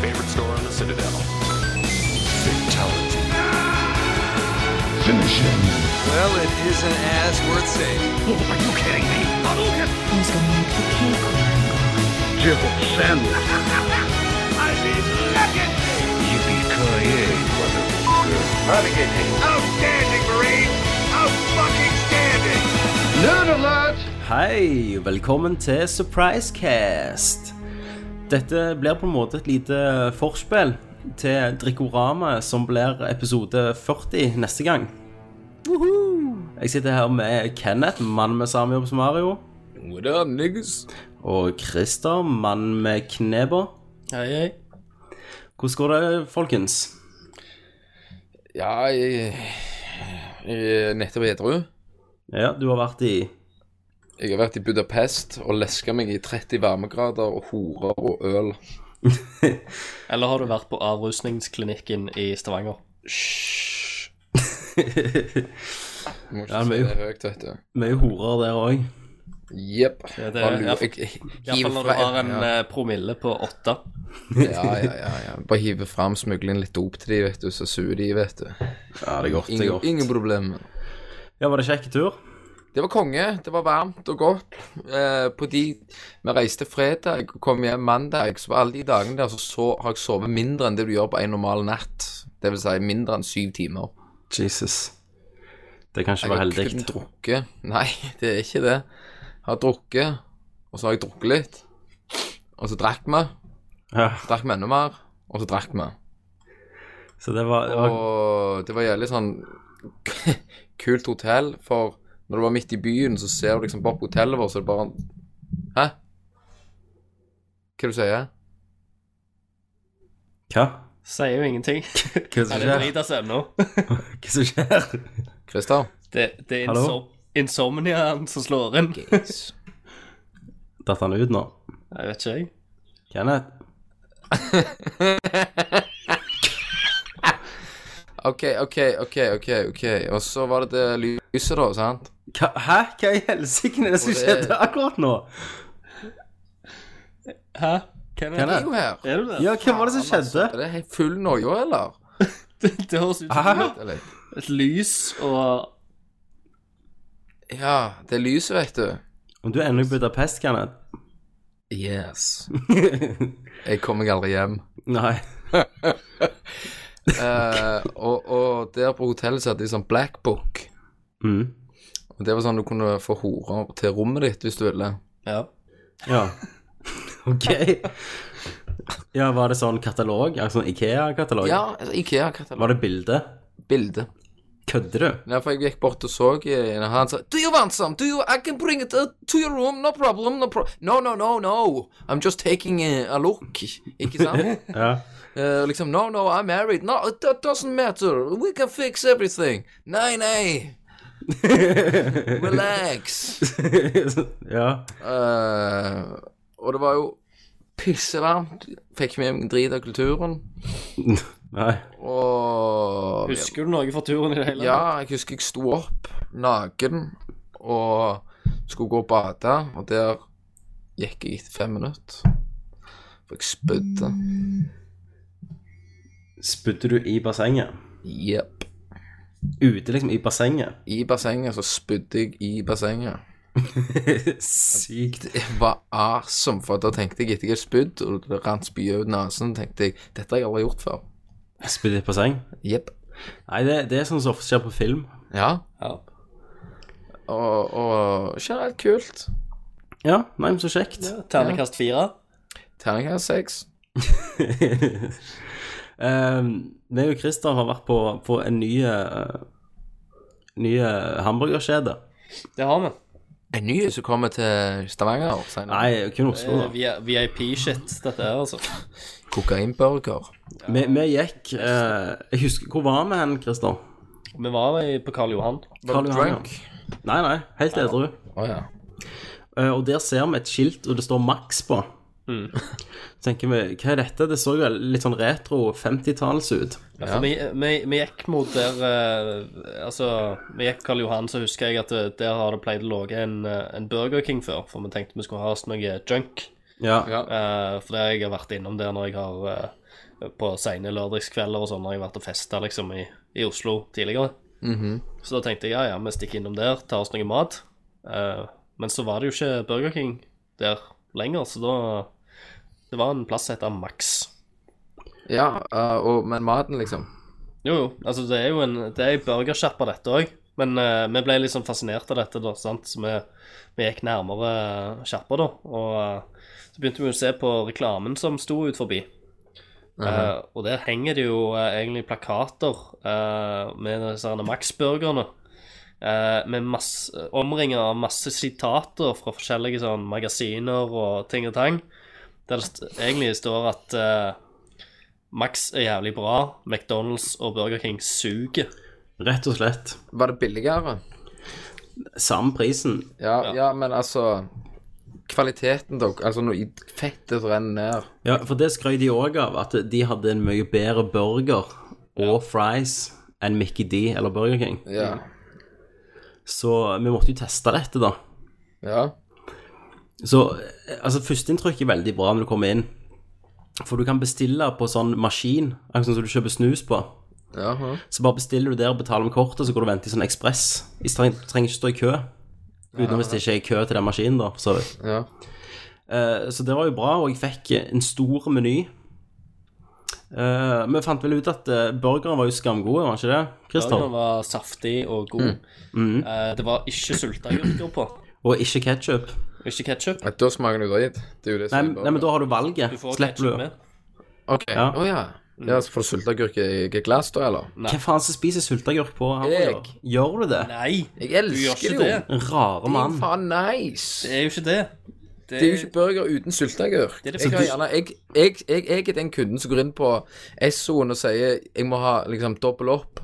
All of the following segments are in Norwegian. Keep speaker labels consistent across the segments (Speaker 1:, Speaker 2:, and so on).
Speaker 1: favorite store on the Citadel.
Speaker 2: Well, it isn't as worth saying.
Speaker 3: Who's gonna make the cake run?
Speaker 4: Hei, og velkommen til Surprisecast. Dette blir på en måte et lite forspill til Drikkorama, som blir episode 40 neste gang. Jeg sitter her med Kenneth, mann med samme jobb som Mario,
Speaker 2: What up, niggas?
Speaker 4: og Christer, mann med kneba.
Speaker 2: Hei, hei.
Speaker 4: Hvordan går det, folkens?
Speaker 2: Ja, jeg, jeg er nettopp edru.
Speaker 4: Ja, du har vært i
Speaker 2: Jeg har vært i Budapest og leska meg i 30 varmegrader og horer og øl.
Speaker 5: Eller har du vært på avrusningsklinikken i Stavanger?
Speaker 2: Hysj. Du Må ikke
Speaker 4: Ja, men
Speaker 2: si
Speaker 4: jo.
Speaker 2: det høyt, vet du.
Speaker 4: mye horer der òg.
Speaker 2: Jepp.
Speaker 5: Ja, det er-
Speaker 2: Bare
Speaker 5: ja,
Speaker 2: lurer- jeg- hiver
Speaker 5: Iallfall når
Speaker 2: fra-
Speaker 5: du har en
Speaker 2: ja,
Speaker 5: eh, promille på åtte.
Speaker 2: ja, ja, ja, ja. Bare hive fram, smugle inn litt dop til de, vet du, så suger de, vet du.
Speaker 4: Ja, det er godt. det er
Speaker 2: Ingen,
Speaker 4: godt.
Speaker 2: ingen problemer.
Speaker 4: Ja, Var det kjekk tur?
Speaker 2: Det var konge. Det var varmt og godt. Eh, på de Vi reiste fredag og kom hjem mandag. Så på alle de dagene der så, så har jeg sovet mindre enn det du gjør på en normal natt. Det vil si mindre enn syv timer.
Speaker 4: Jesus. Det kan ikke
Speaker 2: Jeg
Speaker 4: være
Speaker 2: har
Speaker 4: heldig.
Speaker 2: kun drukket. Nei, det er ikke det. Jeg har drukket, og så har jeg drukket litt. Og så drakk vi.
Speaker 4: Ja,
Speaker 2: Drakk vi enda mer, og så drakk vi.
Speaker 4: så det var, det var
Speaker 2: Og det var jævlig sånn kult hotell, for når du var midt i byen, så ser du liksom bare på hotellet vårt, så er det bare en Hæ? Hva du sier
Speaker 4: Hva?
Speaker 5: Sier jo ingenting.
Speaker 4: Hva som
Speaker 5: Han er
Speaker 4: skjer?
Speaker 5: drita seg ennå.
Speaker 4: Hva som skjer?
Speaker 2: Christer?
Speaker 5: Det, det er
Speaker 4: Hallo?
Speaker 5: insom insomniaen som slår inn.
Speaker 4: Datt han ut nå?
Speaker 5: Jeg vet ikke, jeg.
Speaker 4: Kenneth?
Speaker 2: OK, OK, OK, OK. ok Og så var det det lyset, da, sant?
Speaker 4: Hva, hæ? Hva i helsike er det som
Speaker 2: Og det-
Speaker 4: skjedde akkurat nå?
Speaker 5: Hæ? Hvem er
Speaker 2: Det
Speaker 5: det?
Speaker 2: er jo her.
Speaker 5: Er du det?
Speaker 4: Ja, hva var det som
Speaker 2: Er
Speaker 4: skjedde?
Speaker 2: det helt full noia, eller?
Speaker 5: Det, det høres ut som
Speaker 4: Hæ?
Speaker 2: eller?
Speaker 5: et lys og
Speaker 2: Ja, det er lyset, vet du.
Speaker 4: Om du er ennå i Budapest, Kenneth?
Speaker 2: Yes. Jeg kommer meg aldri hjem.
Speaker 4: Nei.
Speaker 2: Eh, og, og der på hotellet så hadde de sånn black book.
Speaker 4: Mm.
Speaker 2: Og Det var sånn du kunne få horer til rommet ditt hvis du ville.
Speaker 5: Ja.
Speaker 4: Ja. OK. Ja, var det sånn katalog? Altså sånn Ikea-katalog?
Speaker 2: Ja, altså, Ikea-katalog.
Speaker 4: Var det bilde?
Speaker 2: Bilde.
Speaker 4: Kødder du?
Speaker 2: Ja, for jeg gikk bort og så i en, og han sa Do you want some? Do you, I can bring it uh, to your room, no problem, no problem. No, no, no, no. I'm just taking eh, a, a look. Ikke sant?
Speaker 4: Ja.
Speaker 2: Eh, liksom, no, no, I'm married. No, it that doesn't matter. We can fix everything. Nei, nei. Relax.
Speaker 4: ja.
Speaker 2: Eh, og det var jo pissevarmt. Fikk med meg drit av kulturen.
Speaker 4: Nei.
Speaker 2: Og
Speaker 5: Husker du noe fra turen i det hele
Speaker 2: Ja, jeg husker jeg sto opp naken og skulle gå og bade, og der gikk jeg etter fem minutter. For jeg spydde.
Speaker 4: Spydde du i bassenget?
Speaker 2: Jepp.
Speaker 4: Ute, liksom, i bassenget?
Speaker 2: I bassenget, så spydde jeg i bassenget.
Speaker 4: Sykt.
Speaker 2: Det var awesome, for da tenkte jeg etter jeg hadde spydd, og det rant spy ut nesen, tenkte jeg dette har jeg aldri gjort før.
Speaker 4: Spydde i et basseng?
Speaker 2: Jepp.
Speaker 4: Nei, det, det er sånn som ofte skjer på film.
Speaker 2: Ja.
Speaker 5: Ja.
Speaker 2: Og, og generelt kult.
Speaker 4: Ja, nei, men så kjekt.
Speaker 5: Ternekast fire.
Speaker 2: Terningkast seks.
Speaker 4: um, meg og Christer har vært på, på en ny eh, Ny eh, hamburgerkjede.
Speaker 5: Det har vi.
Speaker 2: En ny som kommer til Stavanger senere.
Speaker 4: Nei, kun Oslo,
Speaker 5: Eh,
Speaker 4: da.
Speaker 5: vi er VIP-shit, dette her, altså.
Speaker 2: Kokainburger.
Speaker 4: Vi, vi gikk eh, Jeg husker Hvor var vi hen, Christer?
Speaker 5: Vi var i- på Karl Johan.
Speaker 2: Var
Speaker 4: Karl
Speaker 2: du
Speaker 4: Johan,
Speaker 2: drunk?
Speaker 4: ja. Nei, nei. Helt edru.
Speaker 2: Å ja.
Speaker 4: Eh, og der ser vi et skilt, og det står Max på. Mm. Så tenker vi Hva er dette? Det så jo litt sånn retro 50-talls ut.
Speaker 5: For Altså, vi, vi, vi gikk mot der eh, Altså, vi gikk Karl Johan, så husker jeg at eh, der har det pleid å ligge en, eh, en Burger King før, for vi tenkte vi skulle ha oss noe junk.
Speaker 4: Ja.
Speaker 2: Ja.
Speaker 5: Eh, for det jeg har vært innom der når jeg har eh, på sene lørdagskvelder og sånn når jeg har vært og festa liksom, i, i Oslo tidligere. Så da tenkte jeg ja, ja, vi stikker innom der, tar oss noe mat. Eh, men så var det jo ikke Burger King der lenger, så da Det var en plass som heter Max.
Speaker 2: Ja, eh, og, men maten, liksom.
Speaker 5: Jo, jo. Altså, det er jo en Det er ei burgersjappa, dette òg. Men eh, vi ble litt sånn fascinert av dette, da, sant? så vi, vi gikk nærmere eh, sjappa, da. Og eh, så begynte vi å se på reklamen som sto ut forbi. Eh, og der henger det jo eh, egentlig plakater eh, med disse her Max-burgerne. eh, med masse, omringer av masse sitater fra forskjellige sånn magasiner og ting og tang. Der det st egentlig står at eh, Max er jævlig bra, McDonald's og Burger King suger.
Speaker 4: Rett og slett.
Speaker 2: Var det billigere?
Speaker 4: Samme prisen.
Speaker 2: Ja, ja. men altså Kvaliteten, dere. Altså, når i- fettet renner ned.
Speaker 4: Ja, for det skrøy de òg av, at de hadde en mye bedre burger og fries enn Mickey D eller Burger King.
Speaker 2: Ja.
Speaker 5: Mm.
Speaker 4: Så vi måtte jo teste dette, da.
Speaker 2: ja.
Speaker 4: Så eh, altså, førsteinntrykk er veldig bra når du kommer inn. For du kan bestille på sånn maskin, akkurat som du kjøper snus på.
Speaker 2: Jaha.
Speaker 4: Så bare bestiller du der, betaler med kortet, så går du og venter i sånn ekspress. I streng- Du trenger ikke stå i kø. Utenom hvis det ikke er kø til den maskinen, da. Så,
Speaker 2: Ja.
Speaker 4: Eh, så det var jo bra, og jeg fikk en stor meny. Eh, vi fant vel ut at eh, burgeren var jo skamgod, var den ikke det, Christer?
Speaker 5: Burgeren var saftig og god.
Speaker 2: Mm.
Speaker 5: Eh, det var ikke sulteagurker på.
Speaker 4: Og ikke ketsjup.
Speaker 5: Og ikke ketsjup.
Speaker 2: Ja, Da smaker det dritt. Det er jo det
Speaker 4: Nei,
Speaker 2: som er
Speaker 4: nei, men da har du valget.
Speaker 5: Du får
Speaker 4: Slipper
Speaker 5: ketsjup
Speaker 4: du
Speaker 5: med.
Speaker 2: OK. Å
Speaker 4: Ja.
Speaker 2: ja.
Speaker 5: Mm.
Speaker 2: ja. Så får du sulteagurk i i glass, da, eller?
Speaker 5: Nei.
Speaker 4: Hvem faen som spiser sulteagurk på hamburger?
Speaker 2: Jeg.
Speaker 4: Gjør du det?
Speaker 5: Nei,
Speaker 2: Jeg
Speaker 5: du gjør
Speaker 2: elsker
Speaker 5: ikke
Speaker 2: det
Speaker 5: det.
Speaker 2: jo.
Speaker 4: En rare
Speaker 2: Din
Speaker 4: mann.
Speaker 2: faen nice.
Speaker 5: Det er jo ikke det.
Speaker 2: Det er jo ikke burger uten sylteagurk.
Speaker 5: Det er det
Speaker 2: Jeg, har
Speaker 5: første.
Speaker 2: gjerne- jeg, jeg, jeg, jeg er den kunden som går inn på Essoen og sier jeg må ha liksom dobbel opp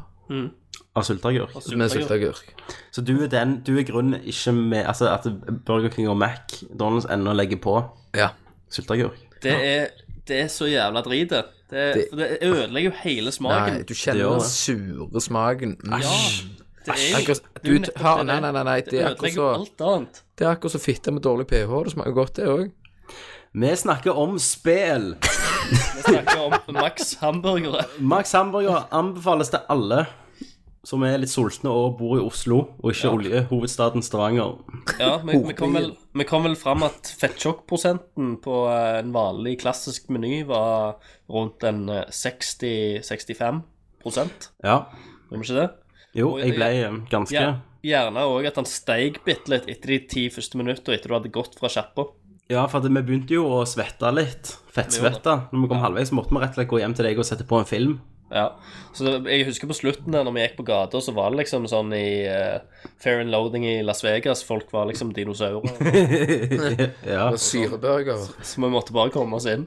Speaker 4: Av sulteagurk.
Speaker 2: med sylteagurk.
Speaker 4: Så du er den, du er grunnen ikke med Altså at Burger King og Mac Donalds ennå legger på
Speaker 2: Ja.
Speaker 4: sulteagurk.
Speaker 5: Det er, det er så jævla drit, det. Det,
Speaker 2: Det-
Speaker 5: for det ødelegger jo hele smaken.
Speaker 2: Nei, du kjenner
Speaker 4: gjør
Speaker 2: den
Speaker 4: det.
Speaker 2: sure smaken. Mm.
Speaker 5: Ja, det er jo
Speaker 2: Akkurat-
Speaker 5: det er jo
Speaker 2: du-
Speaker 5: nettopp
Speaker 2: ha-
Speaker 5: det
Speaker 2: nei,
Speaker 5: det
Speaker 2: nei,
Speaker 5: er.
Speaker 2: nei, nei, det
Speaker 5: Det
Speaker 2: er akkurat
Speaker 5: ødelegger jo
Speaker 2: så-
Speaker 5: alt annet.
Speaker 2: Det er akkurat som fitte med dårlig pH. Det smaker godt, det òg.
Speaker 4: Vi snakker om spill.
Speaker 5: Vi snakker om Max hamburgere.
Speaker 4: Max Hamburger anbefales til alle som er litt sultne og bor i Oslo, og ikke oljehovedstaden Stavanger.
Speaker 5: Ja, vi, vi, kom vel, vi kom vel fram at fettsjokkprosenten på eh, en vanlig klassisk meny var rundt en eh, 60-65 prosent,
Speaker 4: Ja.
Speaker 5: gjør vi ikke det?
Speaker 4: Jo,
Speaker 5: Og-
Speaker 4: jeg ble eh, ganske
Speaker 5: Ja, gjerne òg at han steig bitte litt etter de ti første minutter etter du hadde gått fra sjappa.
Speaker 4: Ja, for at vi begynte jo å svette litt. Fettsvette. Når vi kom halvveis, måtte vi rett og slett gå hjem til deg og sette på en film.
Speaker 5: Ja. Så det- jeg husker på slutten der, når vi gikk på gata, så var det liksom sånn i eh, Fair and Loading i Las Vegas, folk var liksom dinosaurer.
Speaker 4: ja.
Speaker 2: Syreburger.
Speaker 5: Så vi måtte bare komme oss inn.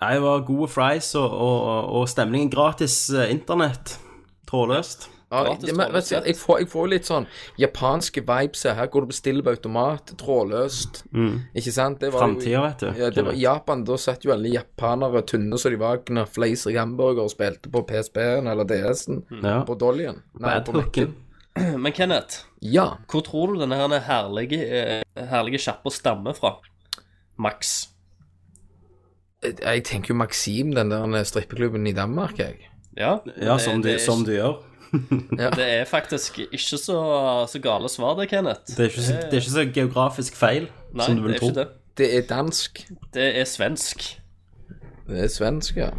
Speaker 4: Nei, det var gode fries og, og, og stemningen. Gratis eh, internett. Trådløst.
Speaker 2: Ja,
Speaker 5: Gratis
Speaker 2: det- men- vet du,
Speaker 5: trådløst.
Speaker 2: jeg, får, jeg får litt sånn japanske vibes her. Her går du og bestiller på automat, trådløst. Ikke sant? Det var jo-
Speaker 4: Framtida, Mm. vet du.
Speaker 2: Ja, det var i Japan, da satt jo alle japanere tynne som de var, knafla i seg hamburger og spilte på PSP-en eller DS-en.
Speaker 5: Mm.
Speaker 4: Ja.
Speaker 2: På Dollyen. Nei, på
Speaker 4: Adhooken.
Speaker 2: Mac-en.
Speaker 5: Men Kenneth,
Speaker 2: Ja.
Speaker 5: hvor tror du denne her herlige, eh, herlige sjappa stammer fra? Max.
Speaker 2: Jeg, jeg tenker jo Maxim, den der strippeklubben i Danmark, jeg.
Speaker 5: Ja,
Speaker 4: Ja, som, du,
Speaker 5: det, er-
Speaker 4: som du gjør.
Speaker 5: Det er faktisk ikke så, så gale svar, det, Kenneth.
Speaker 4: Det er ikke så, det er ikke så geografisk feil
Speaker 5: Nei,
Speaker 4: som du vil
Speaker 5: det er
Speaker 4: tro.
Speaker 5: ikke det.
Speaker 2: Det er dansk.
Speaker 5: Det er svensk.
Speaker 2: Det er svensk, ja.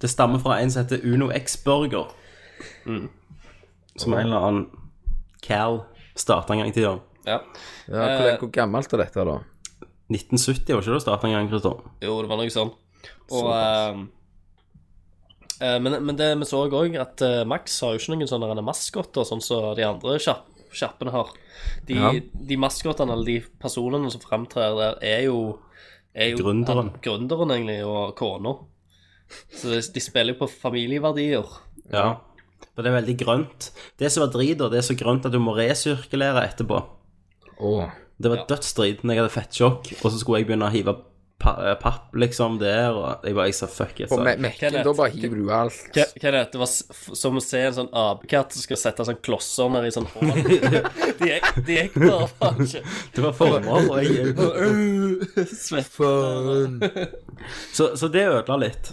Speaker 4: Det stammer fra en som heter Uno X Burger. Som en eller annen Cal starta en gang i tida.
Speaker 5: Ja.
Speaker 2: ja hvor,
Speaker 5: Eh,
Speaker 2: hvor gammelt er dette, da?
Speaker 4: 1970 var ikke det det starta en gang, Christer?
Speaker 5: Jo, det var noe sånn. Og eh, eh, men, men det vi så òg, at eh, Max har jo ikke noen sånne rene maskotter, sånn som de andre kjapp, kjappene har. De,
Speaker 2: Ja.
Speaker 5: de maskottene, eller de personene som framtrer der, er jo, er jo
Speaker 4: Gründeren.
Speaker 5: an- gründeren, egentlig, og kona. Så de, de spiller jo på familieverdier.
Speaker 4: Ja. For det er veldig grønt. Det som var drit, og det er så grønt at du må resirkulere etterpå.
Speaker 2: Å.
Speaker 4: Det var dødsdrit når jeg hadde fettsjokk, og så skulle jeg begynne å hive pa eh, papp liksom der, og jeg bare jeg sa fuck it.
Speaker 2: På
Speaker 4: Så.
Speaker 2: Me- Mac-en,
Speaker 5: Kenneth.
Speaker 2: da bare hiver du alt.
Speaker 5: Hva hva er det? Det var s- f- som å se en sånn apekatt som skal sette sånn klosser ned i sånn hål. De gikk- de gikk bare faen ikke.
Speaker 4: Det var former, og jeg
Speaker 5: Øh, Svett.
Speaker 2: Faen.
Speaker 4: Så, så det ødela litt.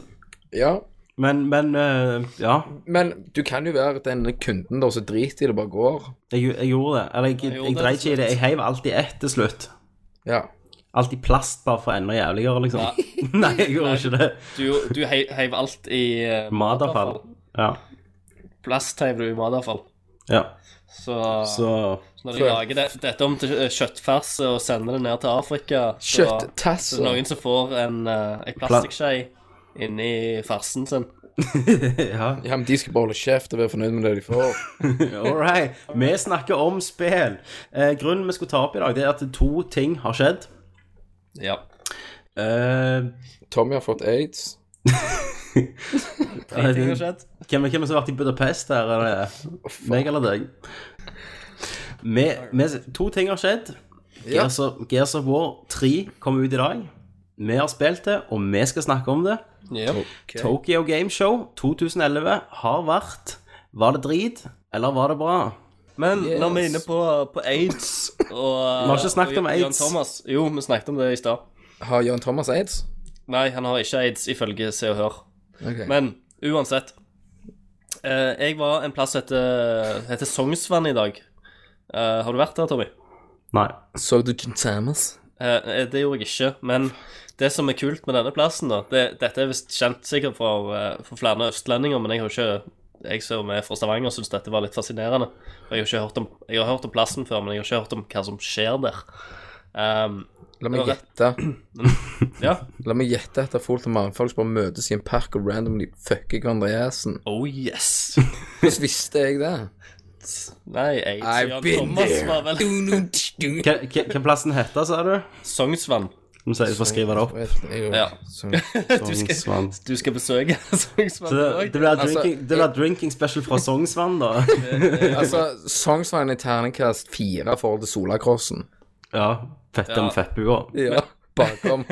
Speaker 2: Ja,
Speaker 4: Men, men eh, ja.
Speaker 2: men du kan jo være den kunden der som driter i det, bare går.
Speaker 4: Jeg, gjo- jeg gjorde det. Eller jeg,
Speaker 5: Jeg
Speaker 4: jeg,
Speaker 5: gjorde det
Speaker 4: dreit
Speaker 5: til
Speaker 4: ikke i det.
Speaker 5: slutt.
Speaker 4: Jeg heiv alltid ett til slutt.
Speaker 2: Ja.
Speaker 4: Alt i plast bare for enda jævligere, liksom. Nei, jeg gjorde ikke det.
Speaker 5: Du, du hei- heiv alt i eh,
Speaker 4: Matavfall. Ja.
Speaker 5: Plast heiv du i matavfall.
Speaker 4: ja.
Speaker 5: Så,
Speaker 4: Så
Speaker 5: når de lager det, dette om til eh, kjøttfars og sender det ned til Afrika så- Så det er
Speaker 2: Kjøtttasser.
Speaker 5: noen som får en, eh, en plastikkskje inni farsen sin.
Speaker 4: Ja.
Speaker 2: Ja, men de skal bare holde kjeft og være fornøyd med det de får.
Speaker 4: All right. Vi snakker om spill. Eh, grunnen vi skulle ta opp i dag, det er at to ting har skjedd.
Speaker 5: Ja.
Speaker 4: Eh,
Speaker 2: Tommy har fått aids.
Speaker 5: Tre ting har skjedd.
Speaker 4: Hvem hvem er det som har vært i Budapest der? Er det meg eller deg? Med, med, to ting har skjedd.
Speaker 2: Ja.
Speaker 4: Gears, of, Gears of War 3 kom ut i dag. Vi har spilt det, og vi skal snakke om det.
Speaker 5: Ja.
Speaker 4: Tokyo Game Show 2011 har vært Var det drit, eller var det bra?
Speaker 5: Men når vi er
Speaker 2: Yes.
Speaker 5: inne på, på aids og
Speaker 4: Vi har ikke snakket om
Speaker 5: og
Speaker 4: AIDS.
Speaker 5: Jan Thomas. Jo, vi snakket om det i stad.
Speaker 2: Har Jan Thomas aids?
Speaker 5: Nei, han har ikke aids, ifølge Se og Hør.
Speaker 2: Ok.
Speaker 5: Men uansett eh, Jeg var en plass som heter, heter Sognsvann i dag. Eh, har du vært der, Tommy?
Speaker 4: Nei.
Speaker 2: Så du Jan Thomas?
Speaker 5: Eh, det gjorde jeg ikke, men det som er kult med denne plassen, da det, Dette er visst kjent sikkert for, eh, for flere østlendinger, men jeg har ikke jeg som er fra Stavanger, syns dette var litt fascinerende. Og jeg har ikke hørt om, jeg har hørt om plassen før, men jeg har ikke hørt om hva som skjer der. Um,
Speaker 2: La meg
Speaker 5: Det var rett.
Speaker 2: gjette.
Speaker 5: ja.
Speaker 2: La meg gjette etter folk og mannfolk som bare møtes i en park og randomly fucker hverandre i assen.
Speaker 5: Oh yes.
Speaker 2: Hvordan visste jeg det?
Speaker 5: Nei, jeg
Speaker 2: I've
Speaker 5: Jan
Speaker 2: been
Speaker 5: Thomas
Speaker 2: there.
Speaker 5: var vel
Speaker 4: Hva hva- hva plassen heter, sa du?
Speaker 5: Sognsvann.
Speaker 4: Nå sier jeg for å skrive det opp.
Speaker 2: Ja.
Speaker 5: Ja. Du skal,
Speaker 4: Sognsvann.
Speaker 5: du skal besøke
Speaker 4: Så
Speaker 5: Sognsvann
Speaker 4: det, det
Speaker 5: i dag.
Speaker 4: blir
Speaker 2: Altså,
Speaker 4: drinking, det blir drinking special fra Sognsvann, da.
Speaker 2: Altså, Songsvann er terningkast fire i forhold til Solakrossen.
Speaker 4: Ja. Fette om
Speaker 5: Ja.
Speaker 4: fettbua.
Speaker 2: Ja. Bakom.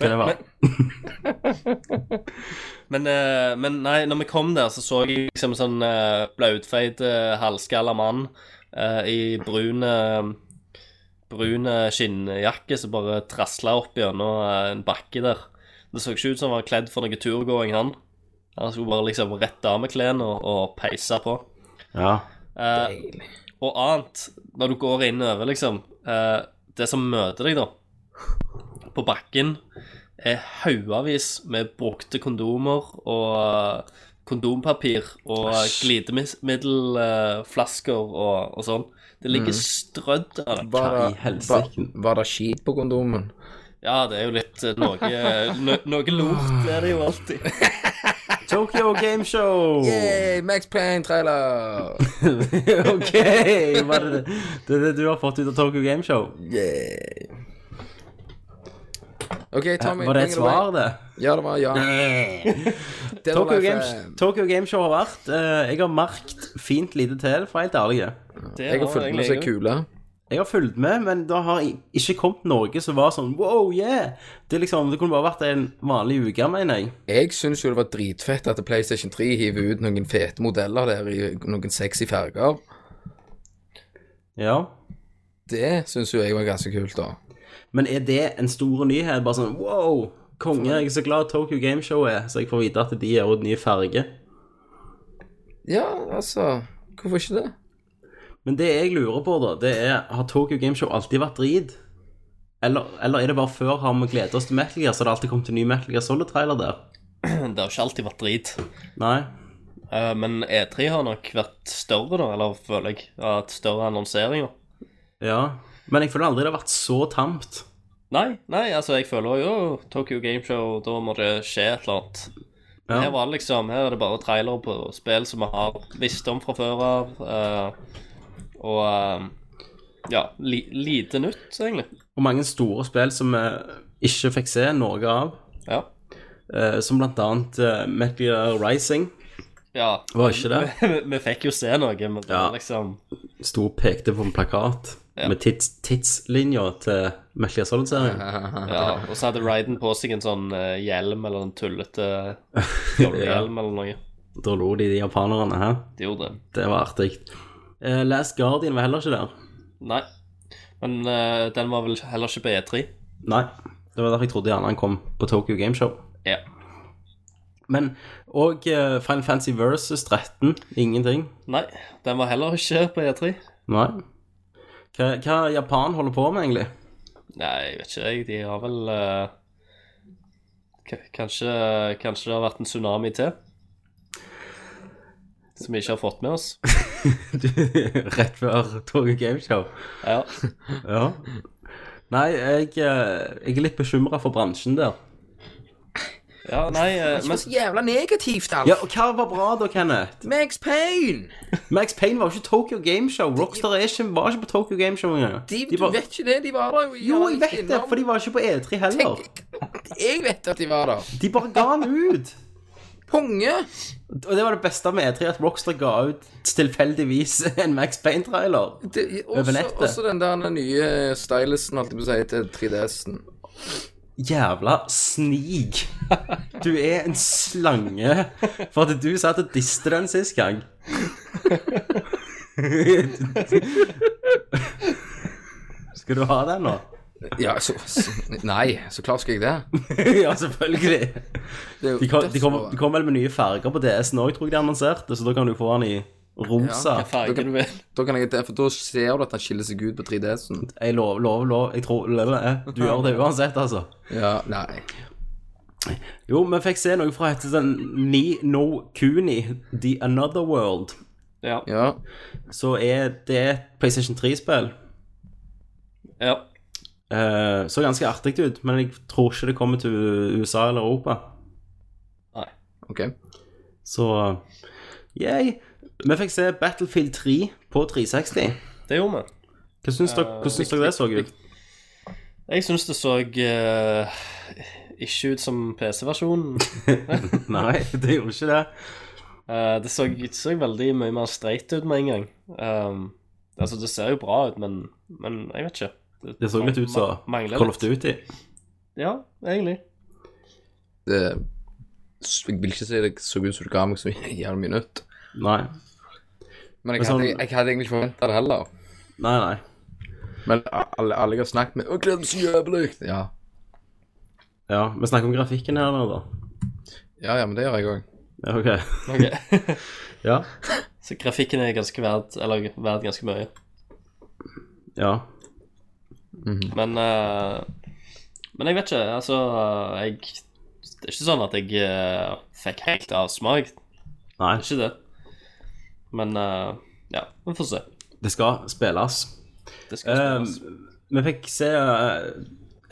Speaker 4: Hva det var.
Speaker 5: Men, eh, men nei, når vi kom der, så så jeg liksom en sånn uh, blautfeit eh, halvskalla mann eh, i brun eh, brun eh, skinnjakke som bare trasla opp gjennom eh, en bakke der. Det så ikke ut som han var kledd for noe turgåing, han. Han skulle bare liksom rett av med klærne og, og peise på.
Speaker 4: Ja.
Speaker 5: Eh, og annet, når du går innover, liksom eh, Det som møter deg, da, på bakken, er haugavis med brukte kondomer og eh, kondompapir og glidemiddelflasker og, og sånn. Det
Speaker 2: Mm.
Speaker 5: ligger strødd av det.
Speaker 2: Var
Speaker 4: Hva i
Speaker 2: det, var,
Speaker 4: helsike?
Speaker 2: var det skit på kondomen?
Speaker 5: Ja, det er jo litt eh, noe, no, noe lort, det er det jo alltid.
Speaker 4: Tokyo Game Show!
Speaker 2: Yay, Max Payne-trailer!
Speaker 4: ok, hva er det, det er det du har fått ut av Tokyo Game Show?
Speaker 2: Yay. OK, Tommy.
Speaker 4: Eh, Var det
Speaker 2: bring
Speaker 4: et
Speaker 2: it away.
Speaker 4: svar, det?
Speaker 2: Ja, det var ja.
Speaker 5: Eh,
Speaker 2: Det var
Speaker 4: Tokyo
Speaker 2: life,
Speaker 4: Game,
Speaker 2: eh,
Speaker 4: Tokyo Game Show har vært eh, Jeg har merket fint lite til, for å være helt ærlig.
Speaker 5: Det
Speaker 2: Jeg har
Speaker 5: var
Speaker 2: fulgt med
Speaker 5: egentlig
Speaker 2: så
Speaker 5: jeg jo.
Speaker 2: kule.
Speaker 4: Jeg har fulgt med, men det har i- ikke kommet noe som var sånn wow, yeah! Det, er liksom, det kunne bare vært en vanlig uke, mener jeg.
Speaker 2: Jeg syns jo det var dritfett at PlayStation 3 hiver ut noen fete modeller der i noen sexy farger.
Speaker 4: Ja.
Speaker 2: Det syns jo jeg var ganske kult, da.
Speaker 4: Men er det en stor nyhet? Bare sånn wow, konge, jeg er så glad Tokyo Game Show er, så jeg får vite at de gjør ut ny farge.
Speaker 2: Ja, altså Hvorfor ikke det?
Speaker 4: Men det jeg lurer på, da, det er Har Tokyo Gameshow alltid vært drit? Eller, eller er det bare før har vi gledet oss til Metal Gear, så har det alltid kommet en ny Metal Gear Solid-trailer der?
Speaker 5: Det har ikke alltid vært drit.
Speaker 4: Nei?
Speaker 5: Eh, men E3 har nok vært større, da, eller føler jeg. Hatt større annonseringer.
Speaker 4: Ja. Men jeg føler aldri det har vært så tamt.
Speaker 5: Nei, nei, altså jeg føler jo Tokyo Gameshow, da må det skje et eller annet. Men Her
Speaker 4: Ja.
Speaker 5: var det liksom, her er det bare trailer på spill som vi har visst om fra før av. eh, og eh, ja, li, lite nytt, egentlig.
Speaker 4: Og mange store spill som vi ikke fikk se noe av,
Speaker 5: Ja.
Speaker 4: eh, som blant annet eh, Metal Gear Rising.
Speaker 5: ja.
Speaker 4: Var ikke det?
Speaker 5: Vi, vi fikk jo se noe, men det
Speaker 4: Ja.
Speaker 5: var liksom
Speaker 4: Sto og pekte på en plakat
Speaker 5: Ja.
Speaker 4: med tids, tidslinja til Metal Gear Solid-serien.
Speaker 5: Ja, og så hadde Ryden på seg en sånn eh, hjelm eller en tullete hjelm eller noe.
Speaker 4: Da lo de, de japanerne. Hæ?
Speaker 5: De gjorde det.
Speaker 4: Det var artig. Eh, Last Guardian var heller ikke der.
Speaker 5: Nei. Men eh, den var vel heller ikke på E3.
Speaker 4: Nei, det var derfor jeg trodde gjerne han kom på Tokyo Game Show.
Speaker 5: Ja.
Speaker 4: Men og eh, Final Fantasy Versus 13. Ingenting.
Speaker 5: Nei, den var heller ikke på E3.
Speaker 4: Nei. Hva, hva Japan holder på med, egentlig?
Speaker 5: Nei, jeg vet ikke, jeg. De har vel eh, k- kanskje, kanskje det har vært en tsunami til? Som vi ikke har fått med oss.
Speaker 4: Rett før Togo Gameshow.
Speaker 5: Ja.
Speaker 4: Ja. Nei, jeg, eh, jeg er litt bekymra for bransjen der.
Speaker 5: ja nei, eh,
Speaker 2: Det er
Speaker 5: men
Speaker 2: så jævla negativt, alt.
Speaker 4: Ja, og Hva var bra da, Kenneth?
Speaker 2: Max Payne!
Speaker 4: Max Payne var jo ikke Tokyo Gameshow. Rockstar er ikke, var ikke på Tokyo Gameshow engang.
Speaker 2: De,
Speaker 4: De
Speaker 2: du
Speaker 4: var,
Speaker 2: vet ikke det, de var der jo.
Speaker 4: jo, jeg vet det, for de var ikke på E3 heller.
Speaker 2: Jeg vet at de var der.
Speaker 4: De bare ga den ut.
Speaker 2: Konge!
Speaker 4: Og det var det beste med E3, at Rockstar ga ut tilfeldigvis en Max Payne-trailer.
Speaker 2: Det-
Speaker 4: Over
Speaker 2: Også,
Speaker 4: nettet.
Speaker 2: også den der nye eh, stylusen, holdt jeg på å si, til 3DS-en.
Speaker 4: Jævla snig. Du er en slange for at du satt og diste den sist gang. Skal du ha den nå?
Speaker 2: Ja, så, så Nei, så klart skal jeg det.
Speaker 4: ja, selvfølgelig.
Speaker 2: det er jo
Speaker 4: De kom, de kom,
Speaker 2: dødsbra.
Speaker 4: de kom vel med nye farger på DS nå, jeg tror jeg de annonserte, så da kan du få den i rosa.
Speaker 5: hva farge du vil.
Speaker 2: Da kan jeg det, for da ser du at den skiller seg ut på 3DS-en.
Speaker 4: Jeg lover, lover, lover. Jeg tror Du gjør det uansett, altså.
Speaker 2: Ja, nei.
Speaker 4: Jo, vi fikk se noe fra hette den Ni No Kuni, The Another World.
Speaker 5: Ja.
Speaker 2: Ja.
Speaker 4: Så er det et PlayStation 3-spill.
Speaker 5: ja.
Speaker 4: Eh, så ganske artig ut, men jeg tror ikke det kommer til USA eller Europa.
Speaker 5: Nei.
Speaker 2: OK.
Speaker 4: Så yay. Vi fikk se Battlefield 3 på 360.
Speaker 5: Det gjorde vi.
Speaker 4: Hva syns dere, hvordan syns dere det så ut?
Speaker 5: Jeg syns det så eh, ikke ut som PC-versjonen.
Speaker 4: Nei, det gjorde ikke det.
Speaker 5: Eh, det, så, det så veldig mye mer streit ut med en gang. Ehm, altså, det ser jo bra ut, men, men jeg vet ikke.
Speaker 4: Det så litt ut som
Speaker 5: Mangler
Speaker 4: Call of
Speaker 5: litt.
Speaker 4: Duty.
Speaker 5: Ja, egentlig.
Speaker 2: Det, jeg vil ikke si det så ut som du ga meg så jævlig mye nytt.
Speaker 4: Nei.
Speaker 2: Men
Speaker 4: Men
Speaker 2: jeg
Speaker 4: sånn-
Speaker 2: hadde, jeg hadde egentlig ikke forventa det heller.
Speaker 4: Nei, nei.
Speaker 2: Men alle, alle jeg har snakket med, og gleder meg så jævlig. Ja.
Speaker 4: Ja, vi snakker om grafikken her nå, da.
Speaker 2: ja, ja, men det gjør jeg òg.
Speaker 4: Ja, OK.
Speaker 5: Ok.
Speaker 4: Ja.
Speaker 5: så grafikken er ganske verdt, eller verdt ganske mye.
Speaker 4: Ja.
Speaker 2: Mm.
Speaker 5: Men eh, Men jeg vet ikke, altså jeg, Det er ikke sånn at jeg eh, fikk helt avsmak. Det
Speaker 4: Nei.
Speaker 5: er ikke det. Men eh, ja, vi får se.
Speaker 4: Det skal spilles.
Speaker 5: Det skal
Speaker 2: Eh,
Speaker 5: spilles.
Speaker 4: Ehm, Vi fikk se eh,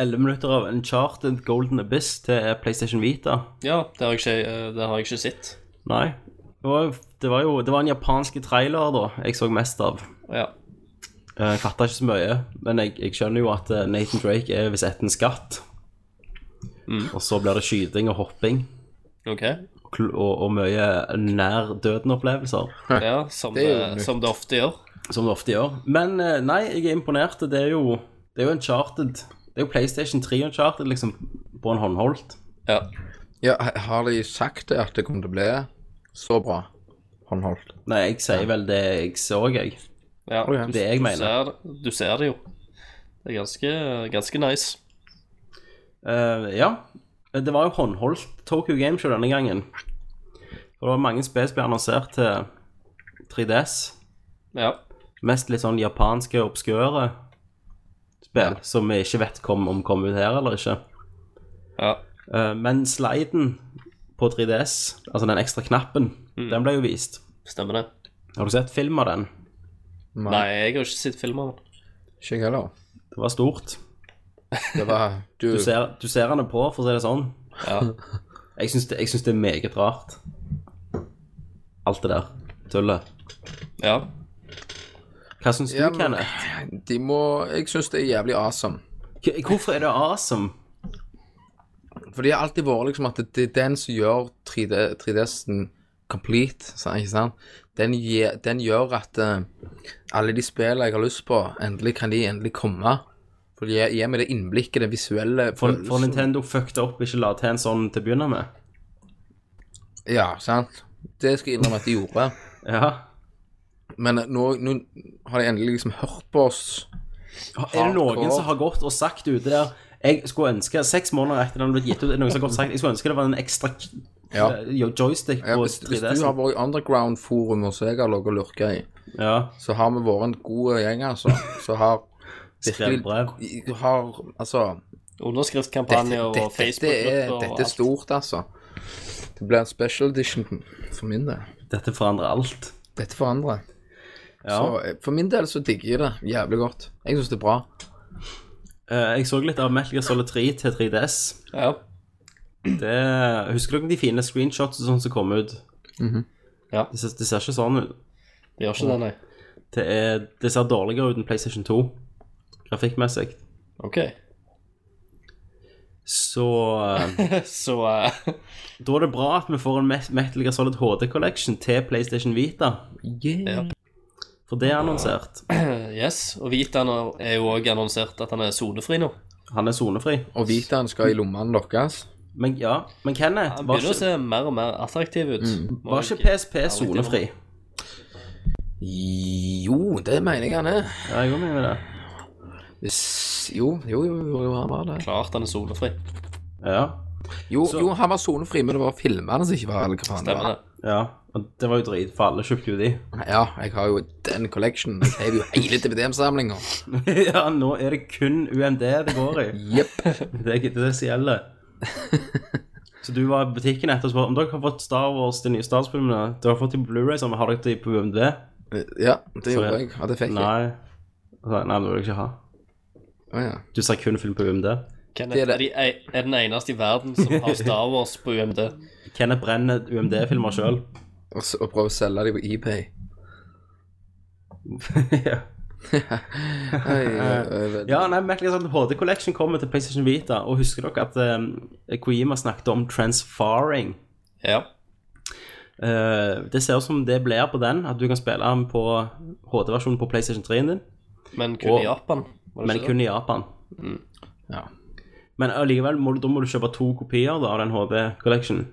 Speaker 4: elleve minutter av Uncharted Golden Abyss til PlayStation Vita.
Speaker 5: ja, det har jeg ikke, eh, det har jeg ikke sett.
Speaker 4: Nei. Det var, det var jo Det var en japansk trailer da jeg så mest av.
Speaker 5: Ja.
Speaker 4: Eh, Jeg fatta ikke så mye, men jeg, jeg skjønner jo at eh, Nathan Drake er hvis ett en skatt. Og så blir det skyting og hopping
Speaker 5: OK.
Speaker 4: og, kl- og, og mye nær døden-opplevelser,
Speaker 5: Ja, som
Speaker 2: Det
Speaker 5: det,
Speaker 2: er jo nytt.
Speaker 5: som det ofte gjør.
Speaker 4: som det ofte gjør. Men eh, nei, jeg er imponert. Det er jo Det er jo Uncharted. Det er jo PlayStation 3 Uncharted, liksom, på en håndholdt.
Speaker 5: Ja.
Speaker 2: Ja, har de sagt det, at det kommer til å bli så bra håndholdt?
Speaker 4: Nei, jeg sier vel det jeg så, jeg.
Speaker 5: ja.
Speaker 2: Å, ja.
Speaker 5: Du,
Speaker 4: Det jeg
Speaker 5: du
Speaker 4: mener.
Speaker 5: Ser, du ser det jo. Det er ganske, ganske nice.
Speaker 4: Eh, ja. Det var jo håndholdt Tokyo Gameshow denne gangen. Og det var mange spill som ble annonsert til 3DS.
Speaker 5: Ja.
Speaker 4: Mest litt sånn japanske, obskøre spill som vi ikke vet kom, om kommer ut her eller ikke.
Speaker 5: ja.
Speaker 4: Eh, men sliden på 3DS, altså den ekstra knappen, den ble jo vist.
Speaker 5: Stemmer det.
Speaker 4: Har du sett film av den?
Speaker 5: Nei, jeg har ikke sett filmer.
Speaker 2: Ikke jeg heller.
Speaker 4: Det var stort.
Speaker 2: Det var Du,
Speaker 4: Du ser, du ser henne på, for å si det sånn.
Speaker 5: Ja.
Speaker 4: Jeg syns det, jeg syns det er meget rart. Alt det der tullet.
Speaker 5: ja.
Speaker 4: Hva syns
Speaker 2: Ja,
Speaker 4: du,
Speaker 2: men-
Speaker 4: Kenneth?
Speaker 2: De må Jeg syns det er jævlig awesome.
Speaker 4: K- Hvorfor er det awesome?
Speaker 2: For det har alltid vært liksom at det, det er den som gjør 3D 3DS-en complete, sa- ikke sant? Den, gje- den gjør at eh, alle de spillene jeg har lyst på, endelig kan de endelig komme. For de gir- gir meg det innblikket, det visuelle
Speaker 4: For, for Nintendo fucked opp ikke la til en sånn til å begynne med.
Speaker 2: Ja, sant. Det skal jeg innrømme at de gjorde.
Speaker 4: Ja.
Speaker 2: Men nå, nå har de endelig liksom hørt på oss.
Speaker 4: Er det noen som har gått og sagt ute der Jeg skulle ønske seks måneder etter den ble gitt ut, er det noen som har godt sagt, jeg skulle ønske det var en ekstra eh,
Speaker 2: Ja.
Speaker 4: jo- joystick
Speaker 2: Ja,
Speaker 4: på
Speaker 2: hvis, hvis du
Speaker 4: 3DS.
Speaker 2: har vært i underground-forumet som jeg har ligget og lurka i,
Speaker 4: Ja,
Speaker 2: så har vi vært en god gjeng, altså. Så har
Speaker 4: skrevet brev.
Speaker 2: virkelig har, Altså
Speaker 5: Underskriftkampanjer
Speaker 2: dette,
Speaker 5: og
Speaker 2: dette, dette, er,
Speaker 5: Facebook-grupper og
Speaker 2: dette er
Speaker 5: alt.
Speaker 2: stort, altså. Det blir en special edition for min del.
Speaker 4: Dette forandrer alt.
Speaker 2: Dette forandrer.
Speaker 4: Ja.
Speaker 2: Så eh, for min del så digger jeg det jævlig godt. Jeg syns det er bra.
Speaker 4: Eh, jeg så litt av Metal Gear Solid 3 til 3DS.
Speaker 5: Ja.
Speaker 4: Det, husker dere de fine screenshots og sånt som kom ut?
Speaker 5: Ja.
Speaker 4: det, ser, det ser ikke sånn ut.
Speaker 5: Det gjør ikke det, nei.
Speaker 4: Det, er, det ser dårligere ut enn PlayStation 2, grafikkmessig.
Speaker 5: OK.
Speaker 4: Så eh,
Speaker 5: Så eh,
Speaker 4: da er det bra at vi får en Me- Metal Gear Solid HD Collection til PlayStation Vita.
Speaker 2: Yeah.
Speaker 4: For det er annonsert.
Speaker 5: eh, yes. Og Vita nå er jo òg annonsert at han er sonefri nå.
Speaker 4: Han er sonefri.
Speaker 2: Og Vitaen skal i lommene deres.
Speaker 4: Men ja, men Kenneth,
Speaker 5: Han
Speaker 4: var
Speaker 5: begynner å
Speaker 4: ikke,
Speaker 5: se mer og mer attraktiv ut.
Speaker 2: Mm.
Speaker 5: Må
Speaker 4: var
Speaker 5: jeg-
Speaker 4: ikke PSP sonefri?
Speaker 2: Jo, det mener jeg han er.
Speaker 4: Ja, jeg går med det.
Speaker 2: Hvis- Jo, jo, jo, jo, jo han var det.
Speaker 5: Klart han er sonefri.
Speaker 4: Ja,
Speaker 2: Jo, jo han var sonefri, men det var filmene som ikke var eller hva faen det
Speaker 5: Stemmer
Speaker 2: var.
Speaker 5: det.
Speaker 4: ja. Og det var jo drit, for alle kjøpte jo de.
Speaker 2: Ja, jeg har jo den collectionen. Jeg har jo hele DPDM-samlinga.
Speaker 4: ja, nå er det kun UMD det går i.
Speaker 2: Jepp.
Speaker 4: Det er ikke det som gjelder. Så du var i butikken etter og spurte om dere har fått Star Wars, de nye Star Wars-filmene. Dere har fått de på Blu-ray, så har dere de på UMD?
Speaker 2: Ja, det gjorde jeg. Ja, det fikk jeg.
Speaker 4: Nei. Nei, det vil jeg ikke ha.
Speaker 2: Å, ja.
Speaker 4: Du ser kun film på UMD.
Speaker 5: Kenneth
Speaker 2: Det er det.
Speaker 5: er, de, er den eneste i verden som har Star Wars på UMD.
Speaker 4: Kenneth brenner UMD-filmer sjøl.
Speaker 2: Og, s- og prøve å selge dem på eBay.
Speaker 4: ja.
Speaker 2: Oi, oi, oi.
Speaker 4: Ja, nei, merkelig sånn HD Collection kommer til PlayStation Vita, og husker dere at eh, Kojima snakket om transfaring?
Speaker 5: Ja.
Speaker 4: Eh, det ser ut som det blir på den, at du kan spille den på HD-versjonen på PlayStation 3-en din,
Speaker 5: Men kun
Speaker 4: Og-
Speaker 5: i Japan. var det
Speaker 4: men
Speaker 5: ikke det?
Speaker 4: kun i Japan.
Speaker 2: Ja.
Speaker 4: Men allikevel, må du, da må du kjøpe to kopier da, av den HD Collection.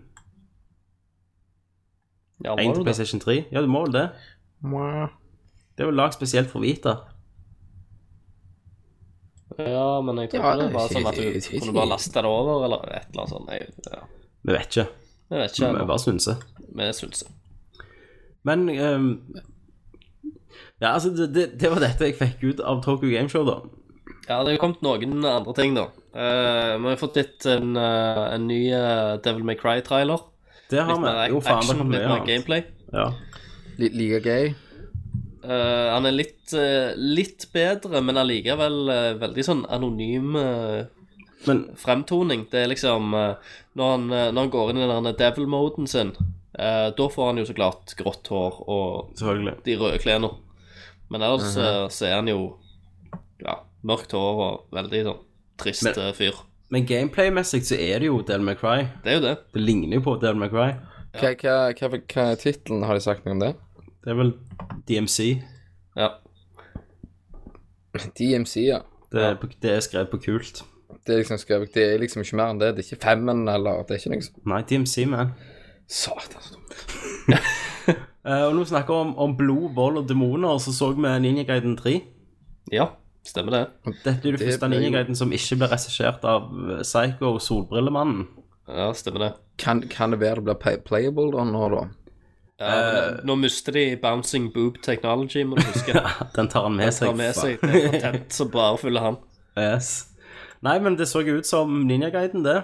Speaker 5: ja,
Speaker 4: Én
Speaker 5: var
Speaker 4: til
Speaker 5: det det?
Speaker 4: PlayStation 3. Ja, du må vel det.
Speaker 2: Mwah.
Speaker 4: Det er vel lagd spesielt for Vita.
Speaker 5: ja, men jeg tror
Speaker 2: Ja,
Speaker 5: det var
Speaker 2: ikke-
Speaker 5: sånn at du
Speaker 2: ikke- ikke-
Speaker 5: kunne bare laste det over, eller et eller annet sånt. Jeg, ja.
Speaker 4: Vi vet ikke.
Speaker 5: jeg vet
Speaker 4: Vi
Speaker 5: ikke.
Speaker 4: bare synser.
Speaker 5: Men jeg syns det.
Speaker 4: Men ehm, Ja, altså, det, det, det var dette jeg fikk ut av Tokyo Gameshow, da.
Speaker 5: Ja, det har jo kommet noen andre ting, da. Eh, vi har fått litt en, eh, en ny eh, Devil May Cry-trailer.
Speaker 4: Det har
Speaker 5: Litt
Speaker 4: vi.
Speaker 5: mer
Speaker 4: Jo, faen, det
Speaker 5: action,
Speaker 4: kom
Speaker 5: litt
Speaker 4: mye
Speaker 5: mer
Speaker 4: annet.
Speaker 5: gameplay.
Speaker 4: Ja.
Speaker 2: Li- Like gøy.
Speaker 5: Eh, han er litt, eh, litt bedre, men allikevel eh, veldig sånn anonym eh,
Speaker 4: Men
Speaker 5: fremtoning. Det er liksom eh, Når han, eh, når han går inn i den der devil-moden sin, eh, da får han jo så klart grått hår og
Speaker 4: selvfølgelig.
Speaker 5: de røde klærne. Men ellers
Speaker 4: Mhm.
Speaker 5: eh, så er han jo ja, mørkt hår og veldig sånn trist
Speaker 4: Men-
Speaker 5: eh, fyr.
Speaker 4: Men gameplay-messig så er det jo Del McRae.
Speaker 5: Det er jo det.
Speaker 4: Det ligner jo på Del McRae.
Speaker 2: Hva, hva, hva, hva er tittelen? Har de sagt noe om det?
Speaker 4: Det er vel DMC.
Speaker 5: Ja.
Speaker 2: DMC, ja.
Speaker 4: Det, er på- det er skrevet på kult.
Speaker 2: Det er liksom skrevet Det er liksom ikke mer enn det. Det er ikke femmen, eller Det er ikke noe sånt.
Speaker 4: Nei, DMC, man.
Speaker 2: Satan. så dumt.
Speaker 4: Eh, og når vi snakker om, om blod, vold og demoner, så så vi Ninja Gaiden 3.
Speaker 5: ja, stemmer det.
Speaker 4: Dette er det,
Speaker 2: Det
Speaker 4: første
Speaker 2: ble jo-
Speaker 4: Ninja Gaiden som ikke ble regissert av eh, Psycho og Solbrillemannen.
Speaker 5: Ja, stemmer det.
Speaker 2: Kan, kan det være det blir play playable da nå, da?
Speaker 5: Ja,
Speaker 2: Eh.
Speaker 5: men, nå mister de Bouncing Boob Technology, må du huske.
Speaker 4: Den tar han med seg.
Speaker 5: Ta med seg det er content som bare fyller han.
Speaker 4: Yes. Nei, men det så jo ut som Ninja Gaiden, det.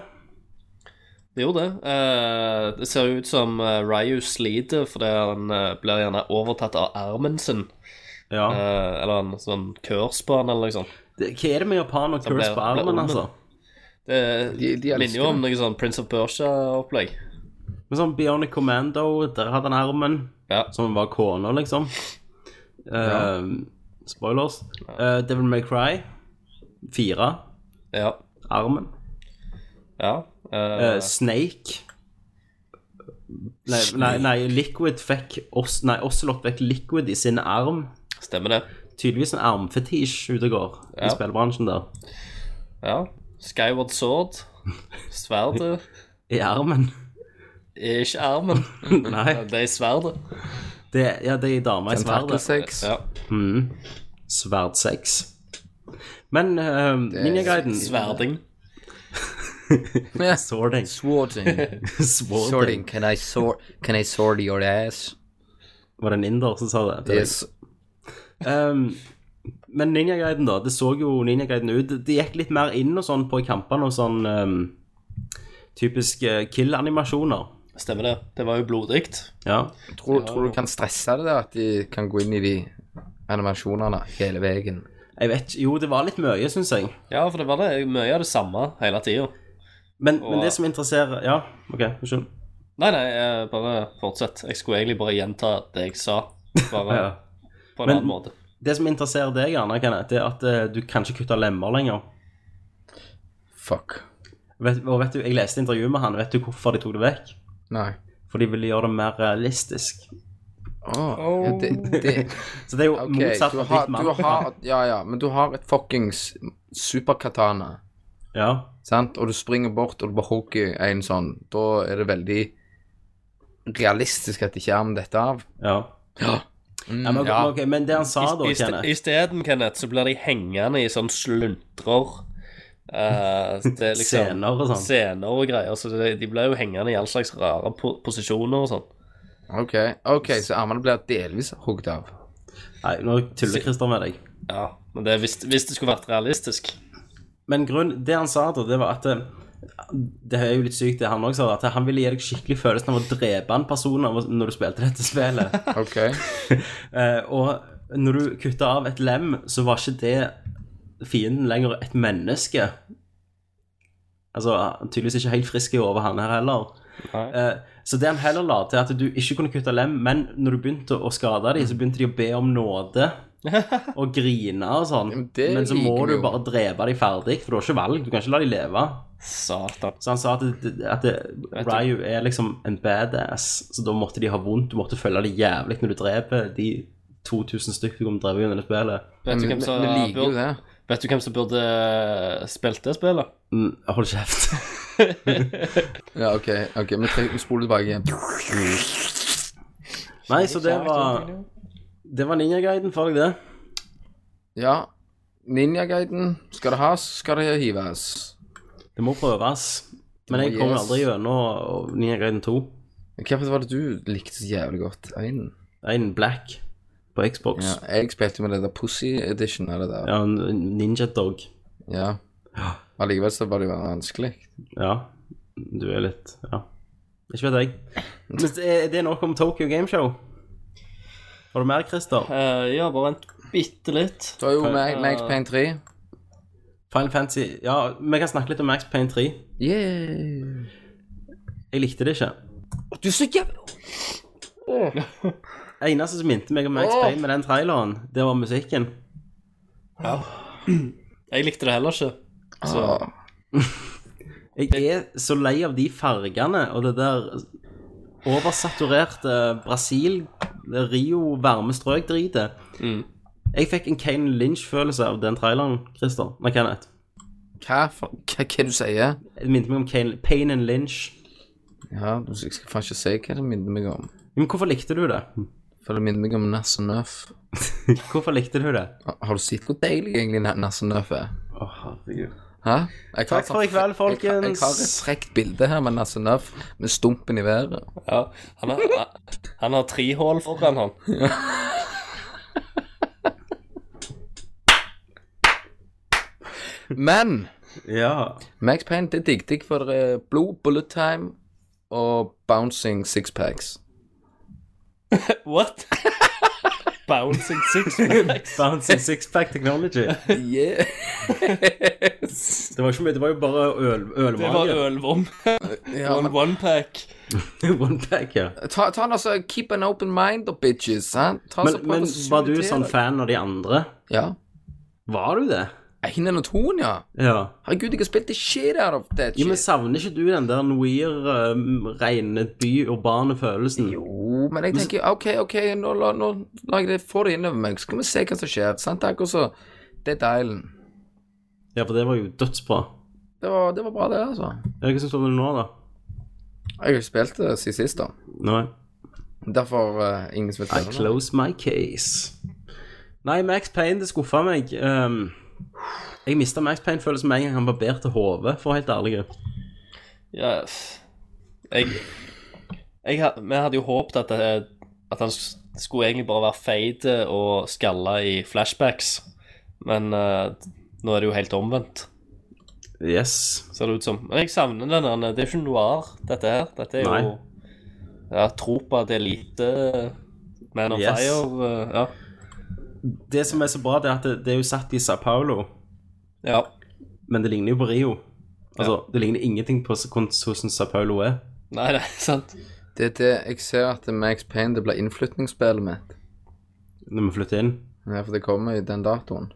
Speaker 5: Det gjorde det. Eh, det ser jo ut som eh, Ryu sliter fordi han eh, blir gjerne overtatt av armen sin.
Speaker 4: Ja.
Speaker 5: Eh, eller en sånn kurs på han, eller noe sånt.
Speaker 4: Det, hva er det med japaner og curse
Speaker 5: ble-
Speaker 4: på
Speaker 5: ble
Speaker 4: armen,
Speaker 5: omvendt.
Speaker 4: altså?
Speaker 5: Det
Speaker 2: De- de elsker
Speaker 5: minner jo om noe sånn Prince of Persia-opplegg.
Speaker 4: Men sånn Bionic Commando, der hadde han armen,
Speaker 5: Ja.
Speaker 4: som var kona, liksom. Eh, Spoilers. Eh, Devil May Cry, fire,
Speaker 5: Ja.
Speaker 4: armen.
Speaker 5: ja.
Speaker 4: Eh,
Speaker 5: Eh,
Speaker 4: Snake. Nei, nei, nei, Liquid fikk Os Nei, Ocelot fikk Liquid i sin arm.
Speaker 5: stemmer det.
Speaker 4: Tydeligvis en armfetisj ute og går
Speaker 5: Ja.
Speaker 4: i spillbransjen der.
Speaker 5: Ja. Skyward Sword. Sverdet
Speaker 4: I armen.
Speaker 5: er ikke armen.
Speaker 4: nei.
Speaker 5: Det er sverdet.
Speaker 4: Det, ja, det er ei dame i sverdet.
Speaker 2: Tentakelsex.
Speaker 5: Ja.
Speaker 4: Mm. Sverdsex. Men uh, Ninja Gaiden
Speaker 5: Sverding.
Speaker 2: Ja.
Speaker 4: Sorting.
Speaker 2: Swording.
Speaker 4: Sorting.
Speaker 1: Sorting. Can I sort? Can I sort your ass?
Speaker 4: Var det en inder som sa det?
Speaker 2: Yes.
Speaker 4: Ehm, men Ninja Gaiden, da. Det så jo Ninja Gaiden ut. Det gikk litt mer inn og sånn på kampene og sånn ehm, Typisk eh, kill-animasjoner.
Speaker 5: Stemmer det. Det var jo blodig.
Speaker 4: Ja.
Speaker 2: Tror, tror du kan stresse det der, at de kan gå inn i de animasjonene hele veien?
Speaker 4: Jeg vet ikke Jo, det var litt mye, syns jeg.
Speaker 5: Ja, for det var det mye av det samme hele tida.
Speaker 4: Men, men
Speaker 5: Og-
Speaker 4: det som interesserer Ja, OK, unnskyld.
Speaker 5: Nei, nei, eh, bare fortsett. Jeg skulle egentlig bare gjenta det jeg sa, bare
Speaker 4: Ja.
Speaker 5: på en
Speaker 4: Men-
Speaker 5: annen måte.
Speaker 4: Det som interesserer deg, gjerne, Kenneth, det er at eh, du kan ikke kutte lemmer lenger.
Speaker 2: Fuck.
Speaker 4: Vet, og vet du, Jeg leste intervjuet med han. Vet du hvorfor de tok det vekk?
Speaker 2: Nei.
Speaker 4: For de ville gjøre det mer realistisk.
Speaker 2: Åh, Ah, ja, det, det,
Speaker 4: Så det er jo
Speaker 2: ok,
Speaker 4: Oh. motsatt
Speaker 2: du
Speaker 4: av
Speaker 2: har,
Speaker 4: ditt
Speaker 2: du
Speaker 4: mann.
Speaker 2: har, ja, ja, men du har et fuckings superkatana,
Speaker 4: Ja.
Speaker 2: sant? Og du springer bort og du bare hogger en sånn. Da er det veldig realistisk at de ikke er med dette av.
Speaker 4: ja.
Speaker 2: Ja. Mm,
Speaker 4: ja, men,
Speaker 2: ja.
Speaker 4: ok, men det han sa da, Kenneth
Speaker 5: Isteden, Kenneth, så blir de hengende i sånn sluntrer. eh, det er liksom,
Speaker 4: Scener og sånn.
Speaker 5: Scener og greier. Så det, de blir jo hengende i all slags rare po posisjoner og sånn.
Speaker 2: Ok, ok, så armene blir delvis hogd av.
Speaker 4: Nei, nå tuller Christer med deg.
Speaker 5: Ja, men det, er hvis, hvis det skulle vært realistisk
Speaker 4: Men grunn, det han sa da, det var at eh, Det er jo litt sykt, det han også sa, at han ville gi deg skikkelig følelsen av å drepe en person av- når du spilte dette spillet.
Speaker 2: Ok,
Speaker 4: Eh, og når du kutta av et lem, så var ikke det fienden lenger et menneske. Altså, tydeligvis ikke helt frisk i hodet, han her heller.
Speaker 5: Nei.
Speaker 4: Eh, så det han heller la til, at du ikke kunne kutte lem, men når du begynte å skade dem, så begynte de å be om nåde. Og grine og sånn.
Speaker 2: men det
Speaker 4: Men så må
Speaker 2: liker vi
Speaker 4: du
Speaker 2: jo.
Speaker 4: bare drepe dem ferdig, for du har ikke valg. Du kan ikke la dem leve.
Speaker 5: Satan.
Speaker 4: Så han sa at, det- at det,
Speaker 5: du-
Speaker 4: Ryu er liksom en badass, så da måtte de ha vondt. Du måtte følge det jævlig når du dreper de 2000 stykker du kommer til å drepe under spillet.
Speaker 5: Vet du,
Speaker 2: men
Speaker 5: hvem som,
Speaker 2: Mm, vi liker jo
Speaker 5: burde,
Speaker 2: det.
Speaker 5: vet du hvem som burde spilt det spillet?
Speaker 4: Mm, Hold kjeft.
Speaker 2: Ja, ok, ok, men tre- vi spoler tilbake igjen.
Speaker 4: Nei, så det var Det var ninjaguiden for deg, det.
Speaker 2: Ja, ninja-guiden, skal det has, skal det hives?
Speaker 4: Det må prøves.
Speaker 2: Det
Speaker 4: Men
Speaker 2: må
Speaker 4: jeg kommer
Speaker 2: gis.
Speaker 4: aldri gjennom ninjaguiden 2.
Speaker 2: Hva var det du likte så jævlig godt? Einen?
Speaker 4: En black på Xbox.
Speaker 2: Ja, jeg spilte med det der Pussy Edition eller det der.
Speaker 4: Ja, en ninja dog.
Speaker 2: Ja. Allikevel så var det jo vanskelig.
Speaker 4: Ja, du er litt Ja. Ikke vet jeg. Men det er- det er nok om Tokyo Gameshow. Har du mer, Christer?
Speaker 5: Eh, ja, bare vent bitte litt.
Speaker 2: Så er jo Mag Max Payne 3.
Speaker 4: Final Fantasy Ja, vi kan snakke litt om Max Payne 3.
Speaker 2: Yeah!
Speaker 4: Jeg likte det ikke.
Speaker 2: Du er så jævlig...
Speaker 4: Det eneste som minte meg om Max Payne med den traileren, det var musikken.
Speaker 5: Jeg likte det heller ikke. Så
Speaker 2: Ah,
Speaker 4: Jeg er så lei av de fargene og det der oversaturerte Brasil, det Rio, varme strøk-dritet. Jeg fikk en Kane Lynch-følelse av den traileren, Christer. Nei, Kenneth.
Speaker 2: hva for... Hva, hva du sier?
Speaker 4: Det minte meg om Kane, Payne and Lynch.
Speaker 2: Ja, du- jeg skal faen ikke si hva det minner meg om.
Speaker 4: Men hvorfor likte du det?
Speaker 2: For det minner meg om Nass og Nøff.
Speaker 4: Hvorfor likte du det?
Speaker 2: Har du sett hvor deilig egentlig Na- Nass og Nøff er?
Speaker 4: Å, herregud.
Speaker 2: Hæ? Jeg har
Speaker 4: Takk for i kveld,
Speaker 2: sånn- jeg- Jeg, jeg har et
Speaker 4: folkens.
Speaker 2: frekt bilde her med Nass og Nøff, med stumpen i været.
Speaker 5: ja, han har, han har tre hull foran han.
Speaker 2: Men...
Speaker 4: Ja.
Speaker 2: Max Payne, det digget jeg for det er blod, bullet time og bouncing sixpacks.
Speaker 5: What? Bouncing sixpacks.
Speaker 4: Bouncing sixpack technology.
Speaker 2: Yeah.
Speaker 4: Det var, ikke mye, det var jo bare øl,
Speaker 5: Det var
Speaker 4: ølmage.
Speaker 5: ølvom.
Speaker 2: ja,
Speaker 5: One
Speaker 2: men,
Speaker 5: one pack.
Speaker 4: One pack, ja.
Speaker 2: ta, ta den altså, keep an open mind, og bitches. Sant? Ta
Speaker 4: Men,
Speaker 2: så prøv
Speaker 4: men
Speaker 2: å suge
Speaker 4: var du
Speaker 2: til
Speaker 4: sånn
Speaker 2: deg.
Speaker 4: fan av de andre?
Speaker 2: Ja.
Speaker 4: Var du det?
Speaker 2: Einen og toen, ja.
Speaker 4: Ja.
Speaker 2: Herregud, jeg har spilt the shit out of that
Speaker 4: Jo, men
Speaker 2: shit.
Speaker 4: savner ikke du den der noir, um, rene by, urbane følelsen?
Speaker 2: Jo, Oh, men jeg tenker OK, OK, nå, la, nå la jeg det få det innover meg, så skal vi se hva som skjer. Sant? Det er akkurat så Dead Island.
Speaker 4: Ja, for det var jo dødsbra.
Speaker 2: Det var, det var bra, det, altså.
Speaker 4: Ja, Hva syns du om det nå, da?
Speaker 2: Jeg har ikke spilt det siden sist, da.
Speaker 4: Nei.
Speaker 2: Derfor eh, ingen som vil
Speaker 4: I
Speaker 2: spille det.
Speaker 4: close my case. Nei, Max Payne, det Ehm, skuffa meg. Um, jeg mista Max Payne-følelsen med en gang han barberte hodet, for å være helt ærlig.
Speaker 5: Ja, f- jeg, jeg ha- Vi hadde jo håpet at, det- at han s- skulle egentlig bare være feit og skalla i flashbacks, men eh, nå er det jo helt omvendt,
Speaker 4: Yes.
Speaker 5: ser det ut som. Men jeg savner den der Det er jo ikke noir, dette her. Dette er jo
Speaker 4: Nei.
Speaker 5: ja, Tropa det er lite Man on
Speaker 4: Yes.
Speaker 5: Fire. eh, Ja.
Speaker 4: Det som er så bra, det er at det, det er jo satt i Sao Paulo,
Speaker 5: ja.
Speaker 4: men det ligner jo på Rio. Altså, det ligner ingenting på s- hvordan Sao Paulo er.
Speaker 5: Nei, det er sant.
Speaker 2: Det er det jeg ser at Max Payne det blir innflytningsspillet mitt.
Speaker 4: Når vi flytter inn.
Speaker 2: Ja, for det kommer i den datoen.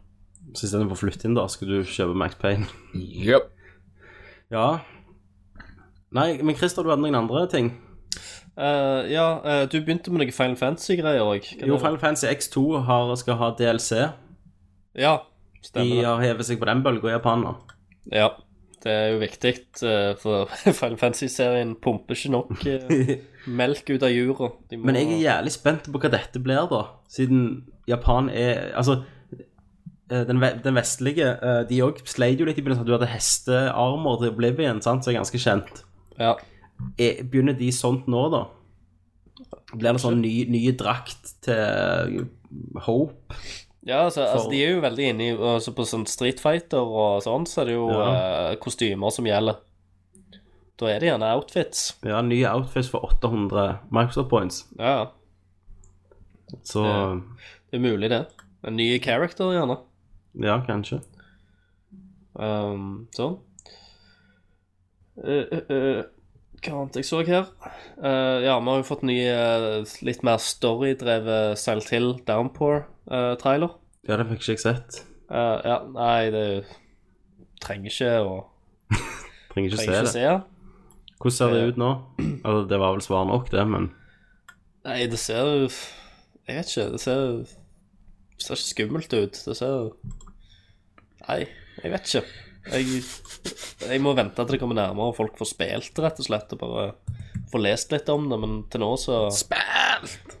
Speaker 4: Så istedenfor å flytte inn, da, skal du kjøpe Max Payne.
Speaker 2: Yep.
Speaker 4: Ja. Nei, men Christer, du hadde noen andre ting?
Speaker 5: Eh, ja, eh, du begynte med noen Final Fantasy-greier òg.
Speaker 4: Jo, Final Fantasy X2 har, skal ha DLC.
Speaker 5: Ja,
Speaker 4: De
Speaker 5: stemmer. det.
Speaker 4: har hevet seg på den bølga i Japan nå.
Speaker 5: Ja, det er jo viktig, eh, for Final Fantasy-serien pumper ikke nok eh, melk ut av jorda. De må-
Speaker 4: Men jeg er jævlig spent på hva dette blir, da. Siden Japan er Altså, eh, den, ve- den vestlige eh, De òg sleit jo litt i begynnelsen. at Du hadde hestearmer til Oblivion, sant, som er ganske kjent.
Speaker 5: Ja,
Speaker 4: Er, begynner de sånt nå, da? Blir det sånn ny, ny drakt til Hope?
Speaker 5: ja altså, altså,
Speaker 4: For-
Speaker 5: de er jo veldig inne i altså, På sånn Street Fighter og sånn, så er det jo
Speaker 4: Ja.
Speaker 5: eh, kostymer som gjelder. Da er det gjerne outfits.
Speaker 4: Ja, nye outfits for 800 Microsoft points.
Speaker 5: Ja, ja.
Speaker 4: Så
Speaker 5: Ja. det er mulig, det. En ny character, gjerne.
Speaker 4: ja, kanskje.
Speaker 5: Um, sånn. Eh, eh, eh, hva annet jeg så her? Eh, ja, vi har jo fått ny, eh, litt mer storydrevet Silent Hill Downpour-trailer.
Speaker 4: Ja, det fikk ikke jeg sett.
Speaker 5: eh, ja, nei, det trenger ikke å
Speaker 4: Trenger ikke
Speaker 5: trenger ikke å
Speaker 4: se det.
Speaker 5: se. den.
Speaker 4: Hvordan ser det ut nå? Altså, det var vel svaret nok, det, men
Speaker 5: Nei, det ser jo Jeg vet ikke. Det ser jo det ser ikke skummelt ut. Det ser jo Nei, jeg vet ikke. Jeg, jeg må vente til det kommer nærmere og folk får spilt det, rett og slett, og bare får lest litt om det, men til nå så Spilt!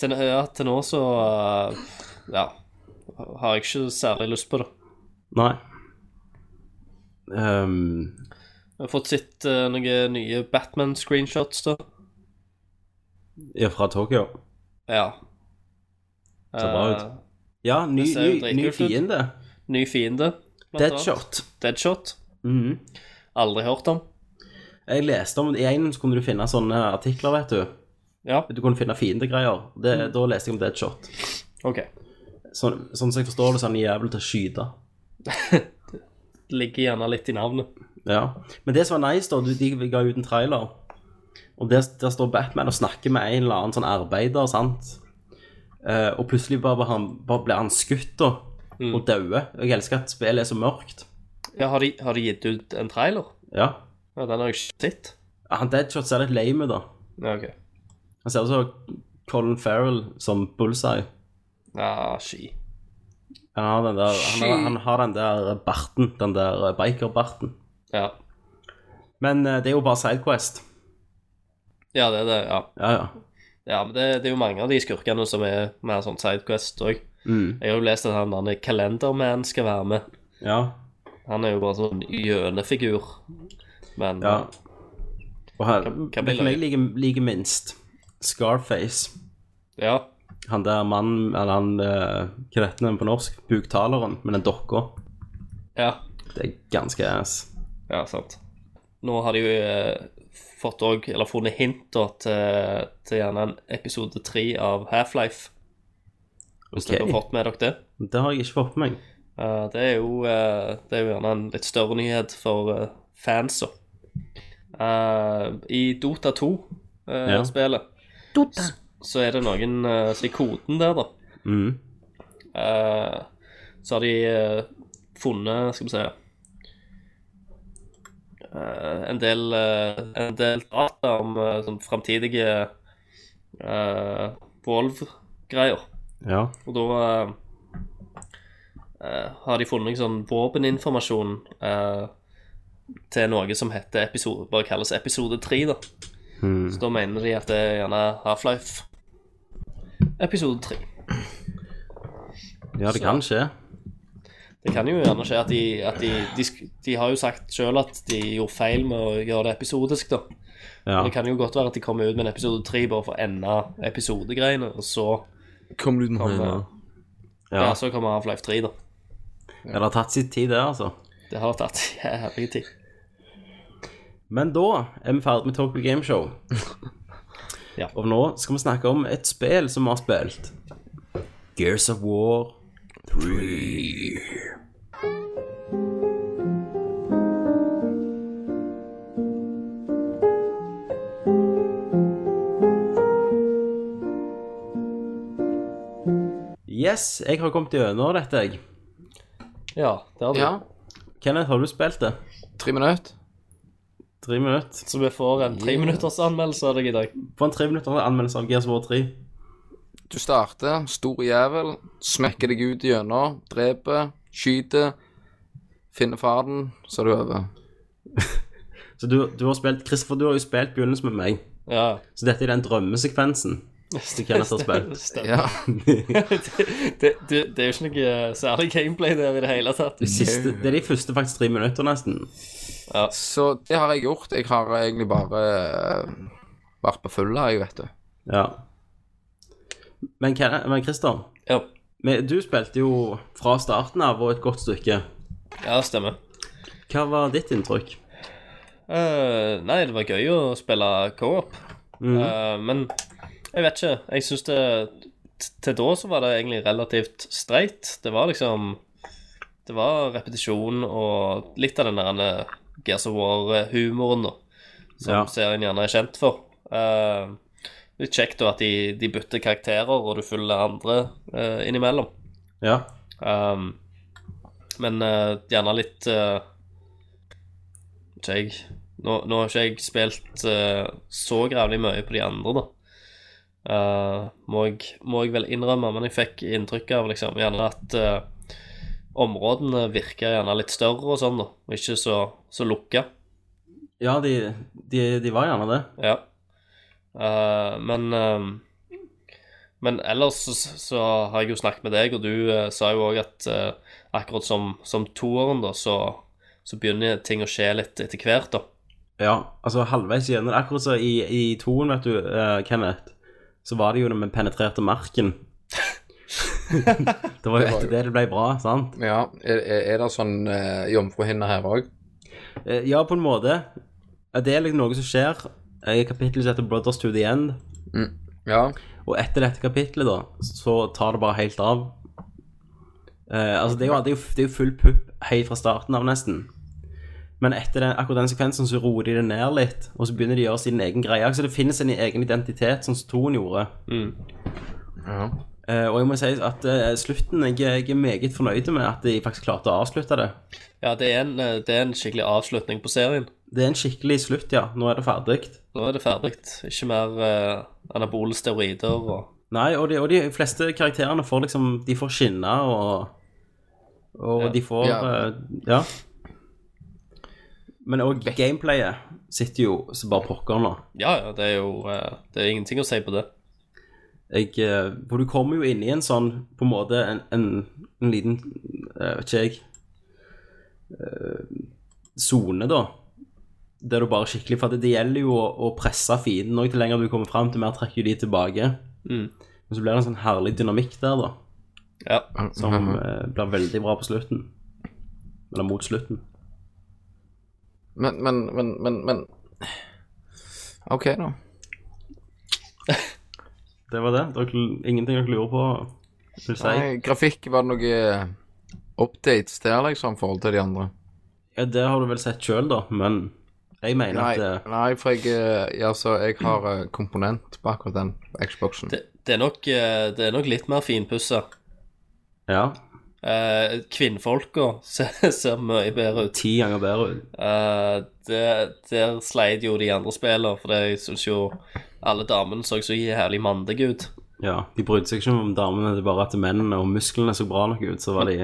Speaker 5: Til, ja, til nå så uh, Ja. Har jeg ikke særlig lyst på det.
Speaker 4: Nei. Ehm,
Speaker 5: Jeg har fått sett uh, noen nye Batman-screenshots, da.
Speaker 4: ja, fra Tokyo.
Speaker 5: Ja.
Speaker 4: Ser bra ut.
Speaker 5: Eh,
Speaker 4: Ja, ny,
Speaker 5: Det ser jo
Speaker 4: ny, ny
Speaker 5: dritkult ut.
Speaker 4: fiende.
Speaker 5: ny fiende. blant annet.
Speaker 4: Deadshot.
Speaker 5: Deadshot.
Speaker 4: Mhm.
Speaker 5: Aldri hørt om.
Speaker 4: Jeg leste om I en så kunne du finne sånne artikler, vet du.
Speaker 5: Ja,
Speaker 4: Du kunne finne fiendegreier. Det,
Speaker 5: Mm.
Speaker 4: Da leste jeg om Deadshot.
Speaker 5: ok.
Speaker 4: Sånn, sånn som jeg forstår det, så er han jævlig til å skyte.
Speaker 5: Det ligger gjerne litt i navnet.
Speaker 4: Ja. Men det som var nice, da, du- de ga ut en trailer, og der, der står Batman og snakker med en eller annen sånn arbeider, sant? Eh, og plutselig bare, var han, bare ble han skutt da, og daue. Jeg elsker at spillet er så mørkt.
Speaker 5: Mm. Ja, har de, har de gitt ut en trailer?
Speaker 4: Ja.
Speaker 5: Ja, den har jeg ikke sett.
Speaker 4: Han Deadshot ser litt lame ut, da.
Speaker 5: Ja, ok.
Speaker 4: Han ser ut som Colin Farrell som Bullseye.
Speaker 5: Ja, ski.
Speaker 4: Han har den der, han har, han har den der barten, den der biker-barten.
Speaker 5: Ja.
Speaker 4: Men eh, det er jo bare Sidequest.
Speaker 5: ja, det er det, ja.
Speaker 4: Ja, ja.
Speaker 5: Ja, men det, det er jo mange av de skurkene som er mer sånn sidequest òg.
Speaker 4: Mm.
Speaker 5: Jeg har jo lest at han derne Kalenderman skal være med.
Speaker 4: Ja,
Speaker 5: Han er jo bare sånn gjønefigur. Men
Speaker 4: ja. Og her,
Speaker 5: Hva- hva blir
Speaker 4: det som jeg liker, liker minst, Scarface.
Speaker 5: ja.
Speaker 4: Han der mannen, eller han, eh, hva heter den på norsk? Buktaleren, med den dokka.
Speaker 5: Ja,
Speaker 4: Det er ganske ass.
Speaker 5: ja sant. Nå har de jo eh, fått òg, eller funnet hint da, til, til gjerne en episode tre av Half-Life. Hvis
Speaker 4: Ok,
Speaker 5: dere har fått med dere det.
Speaker 4: det har jeg ikke fått med meg.
Speaker 5: Eh, det, er jo, eh, det er jo gjerne en litt større nyhet for eh, fansa. Eh, I Dota 2-spelet
Speaker 4: Ja.
Speaker 5: Så, er det noen eh, så I koden der, da,
Speaker 4: Mm.
Speaker 5: eh, så har de eh, funnet Skal vi se eh, en, del, eh, en del data om eh, sånn framtidige uh, Wolv-greier.
Speaker 4: Ja,
Speaker 5: Og da eh, eh, har de funnet sånn våpeninformasjon eh, til noe som heter episode, bare kalles episode 3, da.
Speaker 4: Mm.
Speaker 5: Så da mener de at det er gjerne Half-Life episode 3.
Speaker 4: ja det kan skje.
Speaker 5: Det kan jo gjerne skje at de at de, de, sk- de har jo sagt sjøl at de gjorde feil med å gjøre det episodisk, da.
Speaker 4: Ja.
Speaker 5: Det kan jo godt være at de kommer ut med en episode tre bare for å ende episodegreiene, og så
Speaker 2: Kom du nå?
Speaker 5: kommer,
Speaker 4: ja.
Speaker 5: ja. så kommer Half-Life 3, da.
Speaker 4: Det har tatt sin tid, det, altså.
Speaker 5: Det har tatt jævlig tid.
Speaker 4: Men da er vi ferdig med Tokyo Game Show.
Speaker 5: Ja.
Speaker 4: Og nå skal vi snakke om et spill som vi har spilt. Gears of War 3. Yes, jeg har kommet gjennom dette. jeg.
Speaker 5: Ja, det har du.
Speaker 2: Ja.
Speaker 4: Kenneth, har du spilt det?
Speaker 2: Tre minutter.
Speaker 4: Tre minutter.
Speaker 5: Så vi får en treminutters anmeldelse av deg i dag.
Speaker 4: Få en tre minutter anmeldelse av Gears of War 3.
Speaker 2: Du starter, stor jævel, smekker deg ut gjennom, dreper, skyter, finner faren, så er du over.
Speaker 4: Så du, du har spilt, Kristoffer, du har jo spilt begynnelsen med meg.
Speaker 5: Ja.
Speaker 4: Så dette er den drømmesekvensen. Du kan nesten spille.
Speaker 5: Stemmer.
Speaker 2: Ja.
Speaker 5: det, det, det er jo ikke noe særlig gameplay der i det hele tatt.
Speaker 4: Siste, det er de første faktisk tre minutter nesten.
Speaker 2: Så det har jeg gjort. Jeg har egentlig bare eh, vært på fulla, jeg, vet du.
Speaker 4: Ja. Men, Ken- men Christer,
Speaker 5: Ja,
Speaker 4: men du spilte jo fra starten av og et godt stykke.
Speaker 5: ja stemmer.
Speaker 4: Hva var ditt inntrykk?
Speaker 5: Eh, nei, det var gøy å spille co-op, Eh, men jeg vet ikke. Jeg syns det t- Til da så var det egentlig relativt streit. Det var liksom Det var repetisjon og litt av den der eh, Gears of War-humoren, da. som
Speaker 4: Ja.
Speaker 5: serien gjerne er kjent for. Eh, litt kjekt da at de, de bytter karakterer, og du følger andre eh, innimellom.
Speaker 4: Ja.
Speaker 5: Um, men eh, gjerne litt eh, vet ikke jeg, nå, nå har ikke jeg spilt eh, så grævlig mye på de andre, da. Eh, må, jeg, må jeg vel innrømme, men jeg fikk inntrykk av liksom gjerne at eh, områdene virker gjerne litt større og sånn, da. Og ikke så, så lukka.
Speaker 4: Ja, de, de, de var gjerne det.
Speaker 5: Ja. Eh, men ehm, Men ellers så, så har jeg jo snakket med deg, og du eh, sa jo òg at eh, akkurat som, som toeren, da, så, så begynner ting å skje litt etter hvert, da.
Speaker 4: Ja, altså halvveis igjen. Akkurat så i, i toen, vet du, eh, Kenneth, så var det jo når vi penetrerte marken. det var jo etter det det ble bra, sant?
Speaker 2: Ja. Er, er er det sånn eh, jomfruhinne her òg?
Speaker 4: Eh, Ja, på en måte. Ja, Det er liksom noe som skjer eh, i kapittelet som heter Brothers to the End.
Speaker 2: Ja.
Speaker 4: Og etter dette kapittelet, da, så tar det bare helt av. Eh, altså, det er, jo, det, er jo, det er jo full pupp helt fra starten av, nesten. Men etter den, akkurat den sekvensen så roer de det ned litt, og så begynner de å gjøre sin egen greie. Så det finnes en egen identitet, sånn som toen gjorde.
Speaker 2: ja.
Speaker 4: Eh, og jeg må si at eh, slutten jeg, jeg er meget fornøyd med at de faktisk klarte å avslutte det.
Speaker 5: Ja, det er en, eh, det er en skikkelig avslutning på serien.
Speaker 4: Det er en skikkelig slutt, ja. Nå er det ferdig.
Speaker 5: Nå er det ferdig. Ikke mer eh, anabole steroider og
Speaker 4: Nei, og de, og de fleste karakterene får liksom De får skinne og Og de får
Speaker 2: Ja.
Speaker 4: eh, ja. Men òg gameplayet sitter jo så bare pokker nå.
Speaker 5: Ja, ja, det er jo eh, Det er ingenting å si på det.
Speaker 4: Jeg, eh, for du kommer jo inn i en sånn På en måte en, en, en liten eh, Vet ikke jeg Sone, da. Der du bare skikkelig For det, det gjelder jo å, å presse fienden òg. Til lenger du kommer fram, til mer trekker jo de tilbake.
Speaker 5: Mm.
Speaker 4: Men så blir det en sånn herlig dynamikk der, da.
Speaker 5: Ja.
Speaker 4: som eh, blir veldig bra på slutten. Eller mot slutten.
Speaker 2: Men, men, men, men, men. OK, da.
Speaker 4: Det var det. Dere, ingenting dere lurer på? Vil si.
Speaker 2: Nei, grafikk, var det noen updates der, liksom, i forhold til de andre?
Speaker 4: Ja, det har du vel sett sjøl, da, men jeg mener
Speaker 2: Nei,
Speaker 4: at eh,
Speaker 2: nei for jeg, eh, ja, så jeg har eh, komponent på akkurat den Xboxen.
Speaker 5: Det, det, er nok, eh, det er nok litt mer finpussa.
Speaker 4: Ja,
Speaker 5: Eh, Kvinnfolka ser, ser mye bedre ut.
Speaker 4: ti ganger bedre.
Speaker 5: Eh, det, der sleit jo de andre spillene, for det, jeg syns jo alle damene så så jævlig mandige ut.
Speaker 4: Ja, De brydde seg ikke om damene, det er bare at mennene og musklene så bra nok ut, så var de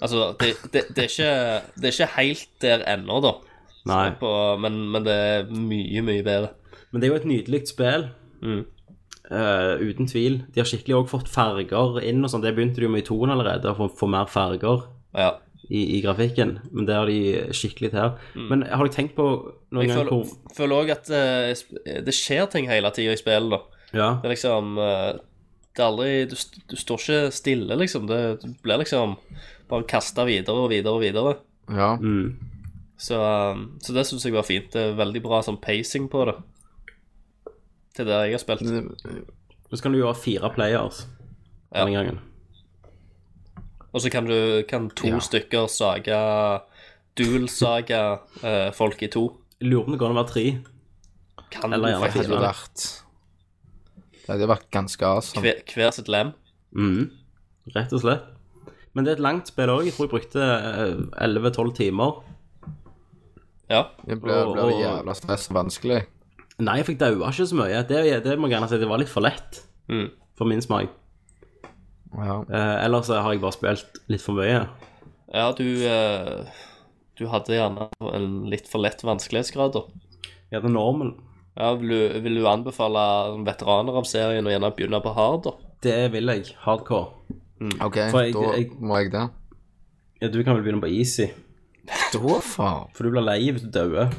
Speaker 5: Altså, det, det, det, er ikke, det er ikke helt der ennå, da,
Speaker 4: Nei.
Speaker 5: på, men, men det er mye, mye bedre.
Speaker 4: Men det er jo et nydelig spill.
Speaker 5: Mm.
Speaker 4: Eh, uten tvil. De har skikkelig òg fått farger inn og sånn. Det begynte de jo med i toen allerede, å få, få mer farger.
Speaker 5: Ja.
Speaker 4: i, i grafikken, men det har de skikkelig til. Men har dere tenkt på noen
Speaker 5: Jeg
Speaker 4: gang
Speaker 5: føler,
Speaker 4: hvor
Speaker 5: føler også at eh, sp- det skjer ting hele tida i spillet, da.
Speaker 4: Ja,
Speaker 5: Det er liksom eh, Det er aldri Du, st- du står ikke stille, liksom. Det, du blir liksom bare kasta videre og videre og videre.
Speaker 2: Ja.
Speaker 4: mm.
Speaker 5: Så, um, så det syns jeg var fint. Det er veldig bra sånn pacing på det. Til det jeg har spilt.
Speaker 4: Mm. Nå skal du gjøre fire players
Speaker 5: Ja.
Speaker 4: denne gangen.
Speaker 5: Og så kan du kan to stykker saga Dual-saga eh, folk i to.
Speaker 4: Lurer på om det går an å være tre.
Speaker 5: Kan
Speaker 4: Eller
Speaker 5: du
Speaker 4: gjerne
Speaker 5: faktisk
Speaker 2: Det hadde
Speaker 4: fire.
Speaker 2: vært Det hadde vært ganske awesome.
Speaker 5: hver, hver sitt lem?
Speaker 4: Mm. Rett og slett. Men det er et langt spill òg. Jeg tror jeg brukte eh, 11-12 timer.
Speaker 5: Ja.
Speaker 2: Det blir,
Speaker 4: Og-
Speaker 2: blir
Speaker 4: og-
Speaker 2: jævla stress og vanskelig.
Speaker 4: Nei, jeg fikk daua ikke så mye. Det, det må jeg gjerne si, det var litt for lett
Speaker 5: Mm.
Speaker 4: for min smak.
Speaker 2: Ja.
Speaker 4: Eh, ellers så har jeg bare spilt litt for mye.
Speaker 5: Ja, du eh, Du hadde gjerne en litt for lett vanskelighetsgrad, da.
Speaker 4: Ja, det er normal.
Speaker 5: Ja, vil du, vil du anbefale veteraner av serien å gjerne begynne på hard, da?
Speaker 4: Det vil jeg. Hardcore.
Speaker 2: OK,
Speaker 4: For jeg-
Speaker 2: da
Speaker 4: jeg-
Speaker 2: må jeg det.
Speaker 4: Ja, du kan vel begynne på easy,
Speaker 2: Da, faen.
Speaker 4: for du blir lei hvis du dauer.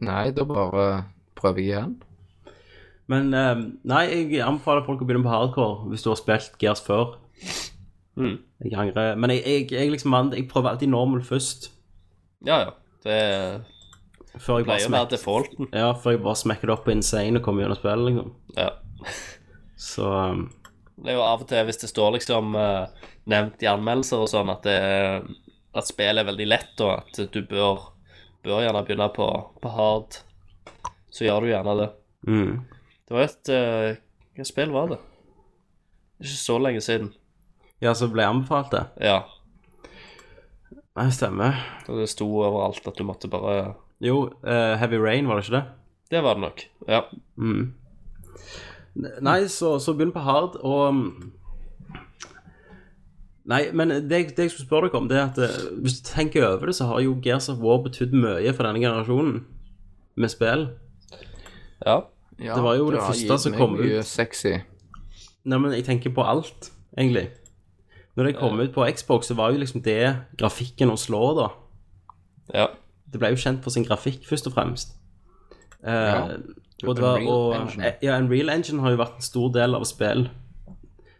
Speaker 2: Nei, da bare prøver jeg igjen.
Speaker 4: Men eh, nei, jeg anbefaler folk å begynne på hardcore hvis du har spilt Gears før.
Speaker 5: Mm.
Speaker 4: Jeg angrer. Men jeg, jeg, jeg, liksom, mann, jeg prøver alltid normal først.
Speaker 5: Ja, ja. Det
Speaker 4: Før jeg bare,
Speaker 5: pleier å være
Speaker 4: smek,
Speaker 5: defaulten.
Speaker 4: ja, før jeg bare smekker det opp på insane og kommer gjennom spillet, liksom.
Speaker 5: Ja.
Speaker 4: Så um,
Speaker 5: Det er jo av og til hvis det står liksom eh, nevnt i anmeldelser og sånn at, det er- at spillet er veldig lett, og at du bør, bør gjerne begynne på, på hard, så gjør du gjerne det.
Speaker 4: mm.
Speaker 5: Det var et eh, Hva spill var det? Ikke så lenge siden.
Speaker 4: Ja, så ble jeg anbefalt det.
Speaker 5: Ja.
Speaker 4: Nei, stemmer.
Speaker 5: og Det sto overalt at du måtte bare
Speaker 4: Jo, eh, Heavy Rain, var det ikke det?
Speaker 5: Det var det nok. Ja.
Speaker 4: Mm. Nei, så, så begynn på hard, og um, Nei, men det, jeg- det jeg skulle spørre dere om, det er at eh, hvis du tenker over det, så har jo Gears of War betydd mye for denne generasjonen med spill.
Speaker 5: ja.
Speaker 2: Ja,
Speaker 4: Det var jo det
Speaker 2: har
Speaker 4: første
Speaker 2: gitt
Speaker 4: som
Speaker 2: meg
Speaker 4: kom
Speaker 2: mye
Speaker 4: ut.
Speaker 2: Sexy.
Speaker 4: Nei, men jeg tenker på alt, egentlig. Når det kom ut på Xbox, så var jo liksom det grafikken å slå, da.
Speaker 5: ja.
Speaker 4: Det ble jo kjent for sin grafikk, først og fremst. Eh, og det var,
Speaker 2: Unreal
Speaker 4: og, eh,
Speaker 2: Engine.
Speaker 4: ja, Unreal Engine har jo vært en stor del av spill.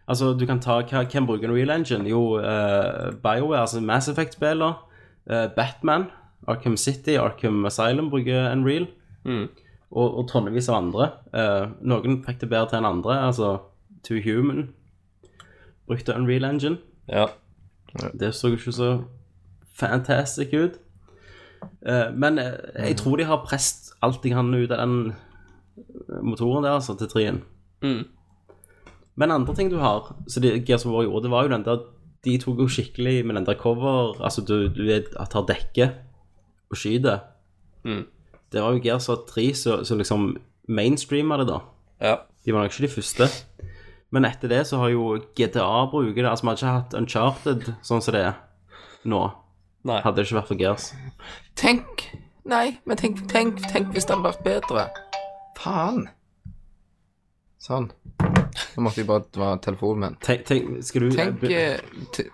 Speaker 4: Altså, du kan ta hva, Hvem bruker Unreal Engine? Jo, eh, BioWare, altså Mass Effect-spiller. eh, Batman, Arkham City, Arkham Asylum bruker Unreal.
Speaker 5: Mm.
Speaker 4: Og, og tonnevis av andre. Eh, noen fikk det bedre til enn andre. Altså To Human brukte Unreal Engine.
Speaker 5: Ja.
Speaker 4: Det så jo ikke så fantastic ut. Eh, men eh, jeg tror de har prest alt de kan ut av den motoren der, altså, til trien.
Speaker 5: Mm.
Speaker 4: Men andre ting du har, så de, Gears of War gjorde, det var jo den der De tok jo skikkelig med den der cover Altså, du, du er- tar dekke og skyter.
Speaker 5: Mm.
Speaker 4: Det var jo Gears of 3 som som liksom mainstreama det, da.
Speaker 5: Ja.
Speaker 4: De var nok ikke de første. Men etter det så har jo GTA bruker det. Altså, vi har ikke hatt Uncharted sånn som det er nå.
Speaker 5: Nei.
Speaker 4: Hadde det ikke vært for Gears.
Speaker 2: Tenk! Nei, men tenk, tenk, tenk hvis det hadde vært bedre. Faen. Sånn. Nå måtte jeg bare det var telefonen min.
Speaker 4: Tenk, tenk Skal du
Speaker 2: Tenk eh, te-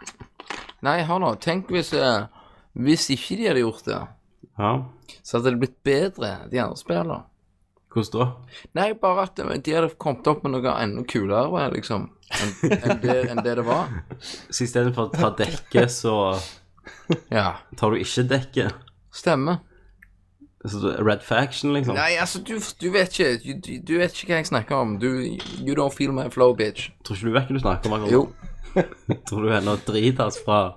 Speaker 2: Nei, hør nå. Tenk hvis eh, Hvis ikke de hadde gjort det,
Speaker 4: Ja,
Speaker 2: så hadde det blitt bedre, de andre spillene.
Speaker 4: hvordan da?
Speaker 2: Nei, bare at eh, de hadde kommet opp med noe enda kulere, liksom, enn enn det, enn det det var.
Speaker 4: Så istedenfor å ta dekke, så
Speaker 2: Ja.
Speaker 4: tar du ikke dekke?
Speaker 2: Stemmer.
Speaker 4: Så du- Red Faction, liksom?
Speaker 2: Nei, altså, du, du vet ikke du, du- du vet ikke hva jeg snakker om. Du You don't feel my flow, bitch.
Speaker 4: Tror ikke du vet hva du snakker om? akkurat?
Speaker 2: Jo.
Speaker 4: Tror du ennå dritas altså, fra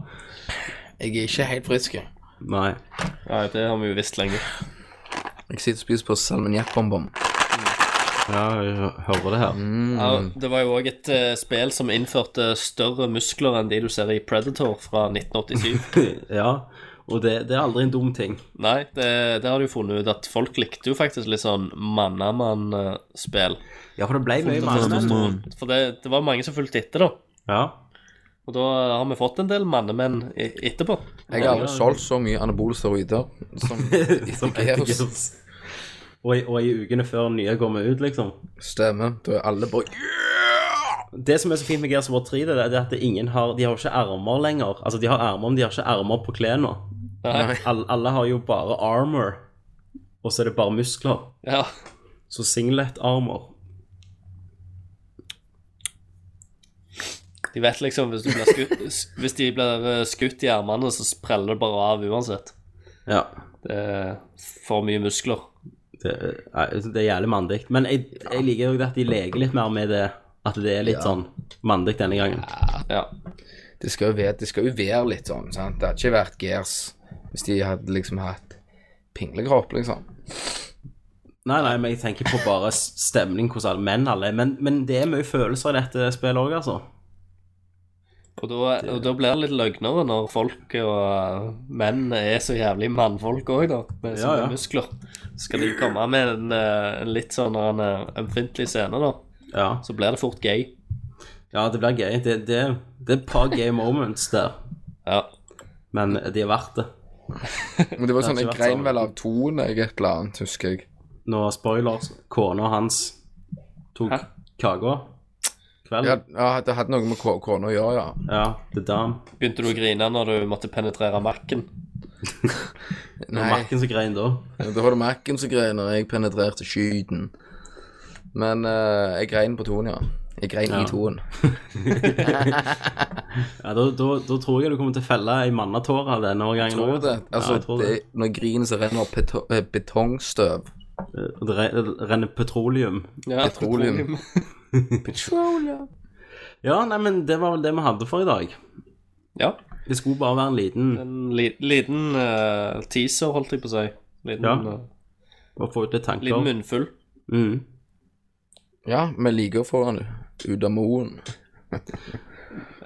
Speaker 2: Jeg er ikke helt frisk. Jeg
Speaker 4: Nei.
Speaker 5: Nei, det har vi jo visst lenge.
Speaker 2: sitter og spiser på salmiakkbonbon.
Speaker 4: Ja, jeg hører det her.
Speaker 5: Ja, det var jo òg et eh, spill som innførte større muskler enn de du ser i Predator fra 1987.
Speaker 4: Ja, og det, det er aldri en dum ting.
Speaker 5: Nei, det, det har du jo funnet ut at folk likte jo faktisk litt sånn mannamann-spill.
Speaker 4: Ja, for det ble mye mannemenn.
Speaker 5: For det, det var mange som fulgte etter, da.
Speaker 4: Ja.
Speaker 5: Og da har vi fått en del mannemenn i- etterpå.
Speaker 2: Jeg har aldri solgt så mye anabole steroider som
Speaker 4: Som etter Gears. Og i, og i ukene før nye kommer ut, liksom.
Speaker 2: Stemmer. Da er alle bare yeah!
Speaker 4: Det som er så fint med Gears of War 3, det er det at ingen har, de har jo ikke ermer lenger. Altså, de har ermer, men de har ikke ermer på klærne.
Speaker 5: Nei.
Speaker 4: Alle, alle har jo bare armor, og så er det bare muskler.
Speaker 5: Ja.
Speaker 4: Så singlet-armor.
Speaker 5: De vet liksom hvis, du blir skutt, s- hvis de blir eh, skutt i armene, så spreller det bare av uansett.
Speaker 4: Ja,
Speaker 5: Det er for mye muskler.
Speaker 4: det, er- nei, altså, det er jævlig mandig. Men jeg, jeg liker jo det at de leker litt mer med det, at det er litt sånn mandig denne gangen.
Speaker 5: Ja.
Speaker 2: Det skal jo være, det skal jo være litt sånn, sant? Det hadde ikke vært Gears hvis de hadde liksom hatt pinglekropp, liksom.
Speaker 4: Nei, nei, men jeg tenker på bare s- stemning hos alle menn alle. er. Men, men det er mye følelser i dette spillet òg, altså.
Speaker 5: Og da, og da blir det litt løgnere når folk og menn er så jævlig mannfolk òg, da. Med
Speaker 4: Ja,
Speaker 5: sånne
Speaker 4: ja.
Speaker 5: muskler. Så skal de komme med en, eh, en litt sånn en eh, ømfintlig scene, da.
Speaker 4: Ja,
Speaker 5: Så blir det fort gøy.
Speaker 4: ja det blir gøy. Det, det, det er et par gay moments der,
Speaker 5: Ja.
Speaker 4: men de er verdt det.
Speaker 2: Men det var sånn,
Speaker 4: Det
Speaker 2: jeg
Speaker 4: har ikke vært
Speaker 2: grein
Speaker 4: sånn.
Speaker 2: vel av toen, jeg et eller annet, husker jeg.
Speaker 4: Når spoilers, kona hans tok
Speaker 5: Hæ?
Speaker 4: kaka kvelden.
Speaker 2: Ja, ja, det hadde noe med ko- kona å gjøre, ja.
Speaker 4: Ja, the dam.
Speaker 5: Begynte du å grine når du måtte penetrere marken?
Speaker 4: Det var Marken som grein da.
Speaker 2: Da var det Mac-en som grein, og jeg penetrerte skyten. Men eh, jeg grein på toen, ja. Jeg grein
Speaker 4: Ja.
Speaker 2: i toen.
Speaker 4: Ja, da, da, da tror jeg du kommer til å felle ei mannetåre denne årgangen.
Speaker 2: Tror du det? Altså,
Speaker 4: ja, jeg tror det.
Speaker 2: det, når jeg griner, så renner beto eh, betongstøv.
Speaker 4: Og det re- renner petroleum.
Speaker 5: Ja,
Speaker 2: Petroleum.
Speaker 4: Ja, nei, men det var vel det vi hadde for i dag.
Speaker 5: Ja.
Speaker 4: Det skulle bare være en liten
Speaker 5: En li liten eh, teaser, holdt jeg på å si. Liten,
Speaker 4: Ja.
Speaker 5: eh,
Speaker 4: å få ut litt
Speaker 5: liten
Speaker 4: tanker.
Speaker 5: munnfull.
Speaker 4: Mm.
Speaker 2: Ja, vi liker å få den ut av moen.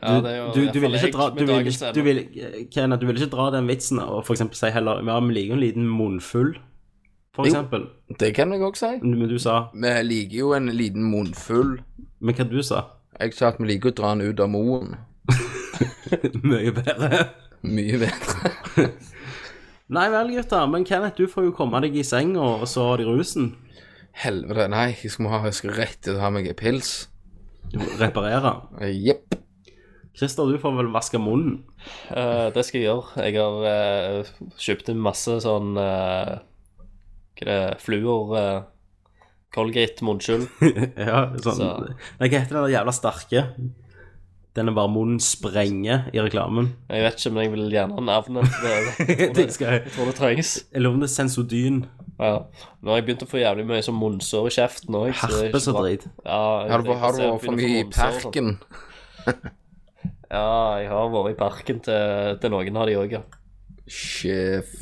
Speaker 5: Ja, det er jo
Speaker 4: Du, du
Speaker 5: i hvert
Speaker 4: vil
Speaker 5: fall
Speaker 4: ikke
Speaker 5: jeg
Speaker 4: dra
Speaker 5: med
Speaker 4: du vil,
Speaker 5: dagens
Speaker 4: ikke-
Speaker 5: scene.
Speaker 4: du vil, Kenneth, du vil ikke dra den vitsen og for eksempel si heller Ja, vi liker jo en liten munnfull, for
Speaker 2: Jo.
Speaker 4: eksempel.
Speaker 2: Det kan jeg også si.
Speaker 4: Men du sa
Speaker 2: Vi liker jo en liten munnfull.
Speaker 4: Men hva du sa?
Speaker 2: Jeg sa at vi liker å dra den ut av moen.
Speaker 4: Mye bedre.
Speaker 2: Mye bedre.
Speaker 4: Nei vel, gutter. Men Kenneth, du får jo komme deg i senga, og så har de rusen.
Speaker 2: Helvete, nei. Jeg skal, må ha, jeg skal rett til å ha meg en pils.
Speaker 4: Reparere.
Speaker 2: Eh, Jepp.
Speaker 4: Christer, du får vel vaske munnen.
Speaker 5: Eh, det skal jeg gjøre. Jeg har eh, kjøpt inn masse sånn uh, Hva er det Fluor eh, Colgate munnskyld.
Speaker 4: ja, sånn.
Speaker 5: Så-
Speaker 4: Nei, hva heter den der jævla sterke? Den er bare munnen sprenger i reklamen.
Speaker 5: Jeg vet ikke, men jeg vil gjerne ha navnet. Det, jeg, tror
Speaker 4: det
Speaker 5: det,
Speaker 4: skal jeg.
Speaker 5: jeg tror det trengs.
Speaker 4: Eller om det er Sensodyn.
Speaker 5: Ja. Nå har jeg begynt å få jævlig mye sånn munnsår i kjeften òg.
Speaker 4: Herpes og drit.
Speaker 5: Ja, jeg-
Speaker 2: Har du,
Speaker 5: jeg
Speaker 2: har du
Speaker 5: ser-
Speaker 2: vært for
Speaker 5: begynner å få
Speaker 2: mye i
Speaker 5: munnsår og sånt.
Speaker 2: parken?
Speaker 5: Ja, jeg har vært i parken til, til noen av de òg, ja.
Speaker 2: Sjef.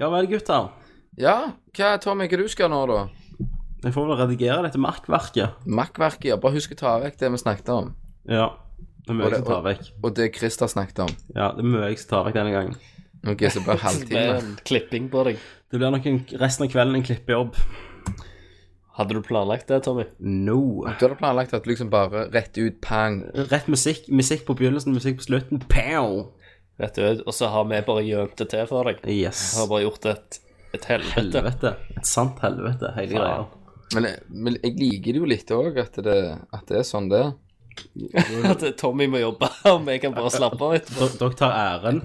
Speaker 4: Ja vel, gutter.
Speaker 2: Ja, hva, Tommy, hva du skal nå, da?
Speaker 4: Jeg får vel redigere dette markverket.
Speaker 2: Makkverket, ja. Bare husk å ta vekk det vi snakket om.
Speaker 4: Ja. Det er mye
Speaker 2: Og det-
Speaker 4: jeg skal ta vekk.
Speaker 2: Og det Christer snakket om.
Speaker 4: Ja, det er mye jeg skal ta vekk denne gangen.
Speaker 2: Ok, så bare
Speaker 5: Så det ble
Speaker 2: halvtime.
Speaker 5: en klipping på deg.
Speaker 4: Det blir nok en, resten av kvelden en klippejobb.
Speaker 5: Hadde du planlagt det, Tommy?
Speaker 4: No.
Speaker 2: Du hadde planlagt at liksom bare rett ut, pang.
Speaker 4: Rett musikk. Musikk på begynnelsen, musikk på slutten. Pow!
Speaker 5: Vet du, og så har vi bare gjømt det til for deg.
Speaker 4: Yes.
Speaker 5: Jeg har bare gjort et, et helvete.
Speaker 4: Helvete. Et sant helvete, hele greia.
Speaker 5: Faen.
Speaker 2: Men, men jeg liker det jo litt òg, at, det- at det er sånn det er.
Speaker 5: At Tommy må jobbe, og vi kan bare slappe av etterpå.
Speaker 4: D- Dere tar æren.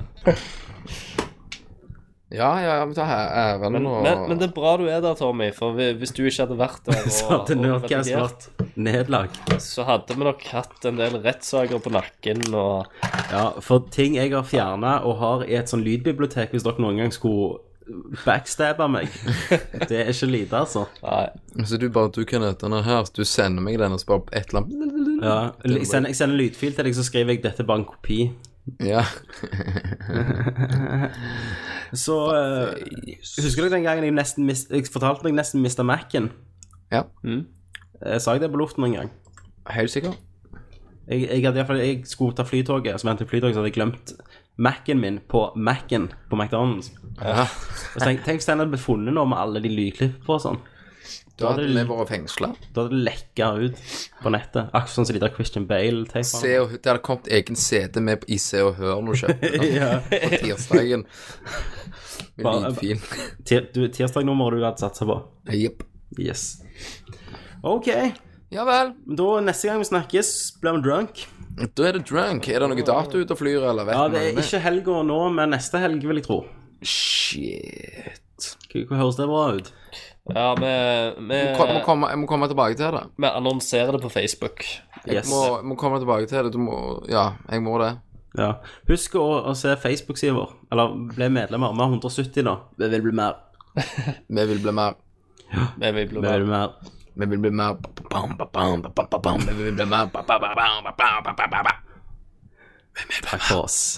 Speaker 2: Ja, ja, ja, vi tar æ- æren
Speaker 5: Men,
Speaker 2: og
Speaker 5: men, men det er bra du er der, Tommy, for vi- hvis du ikke hadde vært der,
Speaker 4: Så hadde Nerdcast vært nedlag.
Speaker 5: så hadde vi nok hatt en del rettssaker på nakken og
Speaker 4: Ja, for ting jeg har fjerna og har i et sånn lydbibliotek, hvis dere noen gang skulle backstabbe meg Det er ikke lite, altså.
Speaker 5: Nei.
Speaker 2: Så du bare du kan hete den her, du sender meg den, og så bare et eller annet
Speaker 4: Ja, jeg sender, jeg sender en lydfil til deg, så skriver jeg 'dette er bare en kopi'.
Speaker 2: Ja.
Speaker 4: Så eh, Husker dere den gangen jeg nesten mist, jeg fortalte meg nesten mista Mac-en?
Speaker 2: ja.
Speaker 4: Eh, Sa jeg det på luften en gang?
Speaker 2: Helt sikker.
Speaker 4: Jeg, jeg, hadde, i hvert fall- jeg skulle ta flytoget, så ventet jeg flytoget, så hadde jeg glemt Mac-en min på Mac-en på McDonald's.
Speaker 2: Ja.
Speaker 4: Og så tenk, tenk hvis den hadde blitt funnet nå med alle de lydklippene på og sånn.
Speaker 2: Da
Speaker 4: hadde
Speaker 2: hadde
Speaker 4: det-
Speaker 2: vi vært fengsla.
Speaker 4: Da hadde det lekka ut på nettet. Akkurat sånn som de der Christian Bale-tapene.
Speaker 2: Det hadde kommet egen CD med i Se og Hør når du kjøpte den på tirsdagen. Med
Speaker 4: Bare-
Speaker 2: lydfil.
Speaker 4: Ti- du- Tirsdagnummeret du hadde satsa på.
Speaker 2: Jepp.
Speaker 4: Yes. OK.
Speaker 2: Ja vel.
Speaker 4: Men da, neste gang vi snakkes, blir vi drunk.
Speaker 2: Da er det drunk. Er det noe dato ute og flyr, eller vet
Speaker 4: Ja,
Speaker 2: vi
Speaker 4: det
Speaker 2: noe
Speaker 4: er
Speaker 2: om
Speaker 4: ikke helga nå, men neste helg, vil jeg tro.
Speaker 2: Shit.
Speaker 4: Hva- Hva høres det bra ut?
Speaker 5: Ja, vi, vi,
Speaker 2: Jeg må, komme, jeg må komme tilbake til det.
Speaker 5: vi annonserer det på Facebook.
Speaker 2: Jeg
Speaker 4: Yes.
Speaker 2: må, må komme tilbake til det. Du må Ja, jeg må det.
Speaker 4: Ja. Husk å, å se Facebook-sida vår. Eller bli medlemmer. Vi har 170 nå. Vi vil bli mer.
Speaker 2: Vi vil bli mer.
Speaker 5: Vi vil
Speaker 4: Vi
Speaker 5: bli
Speaker 4: vil bli
Speaker 5: med.
Speaker 4: mer.
Speaker 2: Vi vil bli mer. Ba-ba-bam, ba-bam, ba-ba-ba-bam. Vi vil bli mer. Ba-ba-ba-bam, ba-ba-ba-ba-ba.
Speaker 4: Takk for oss.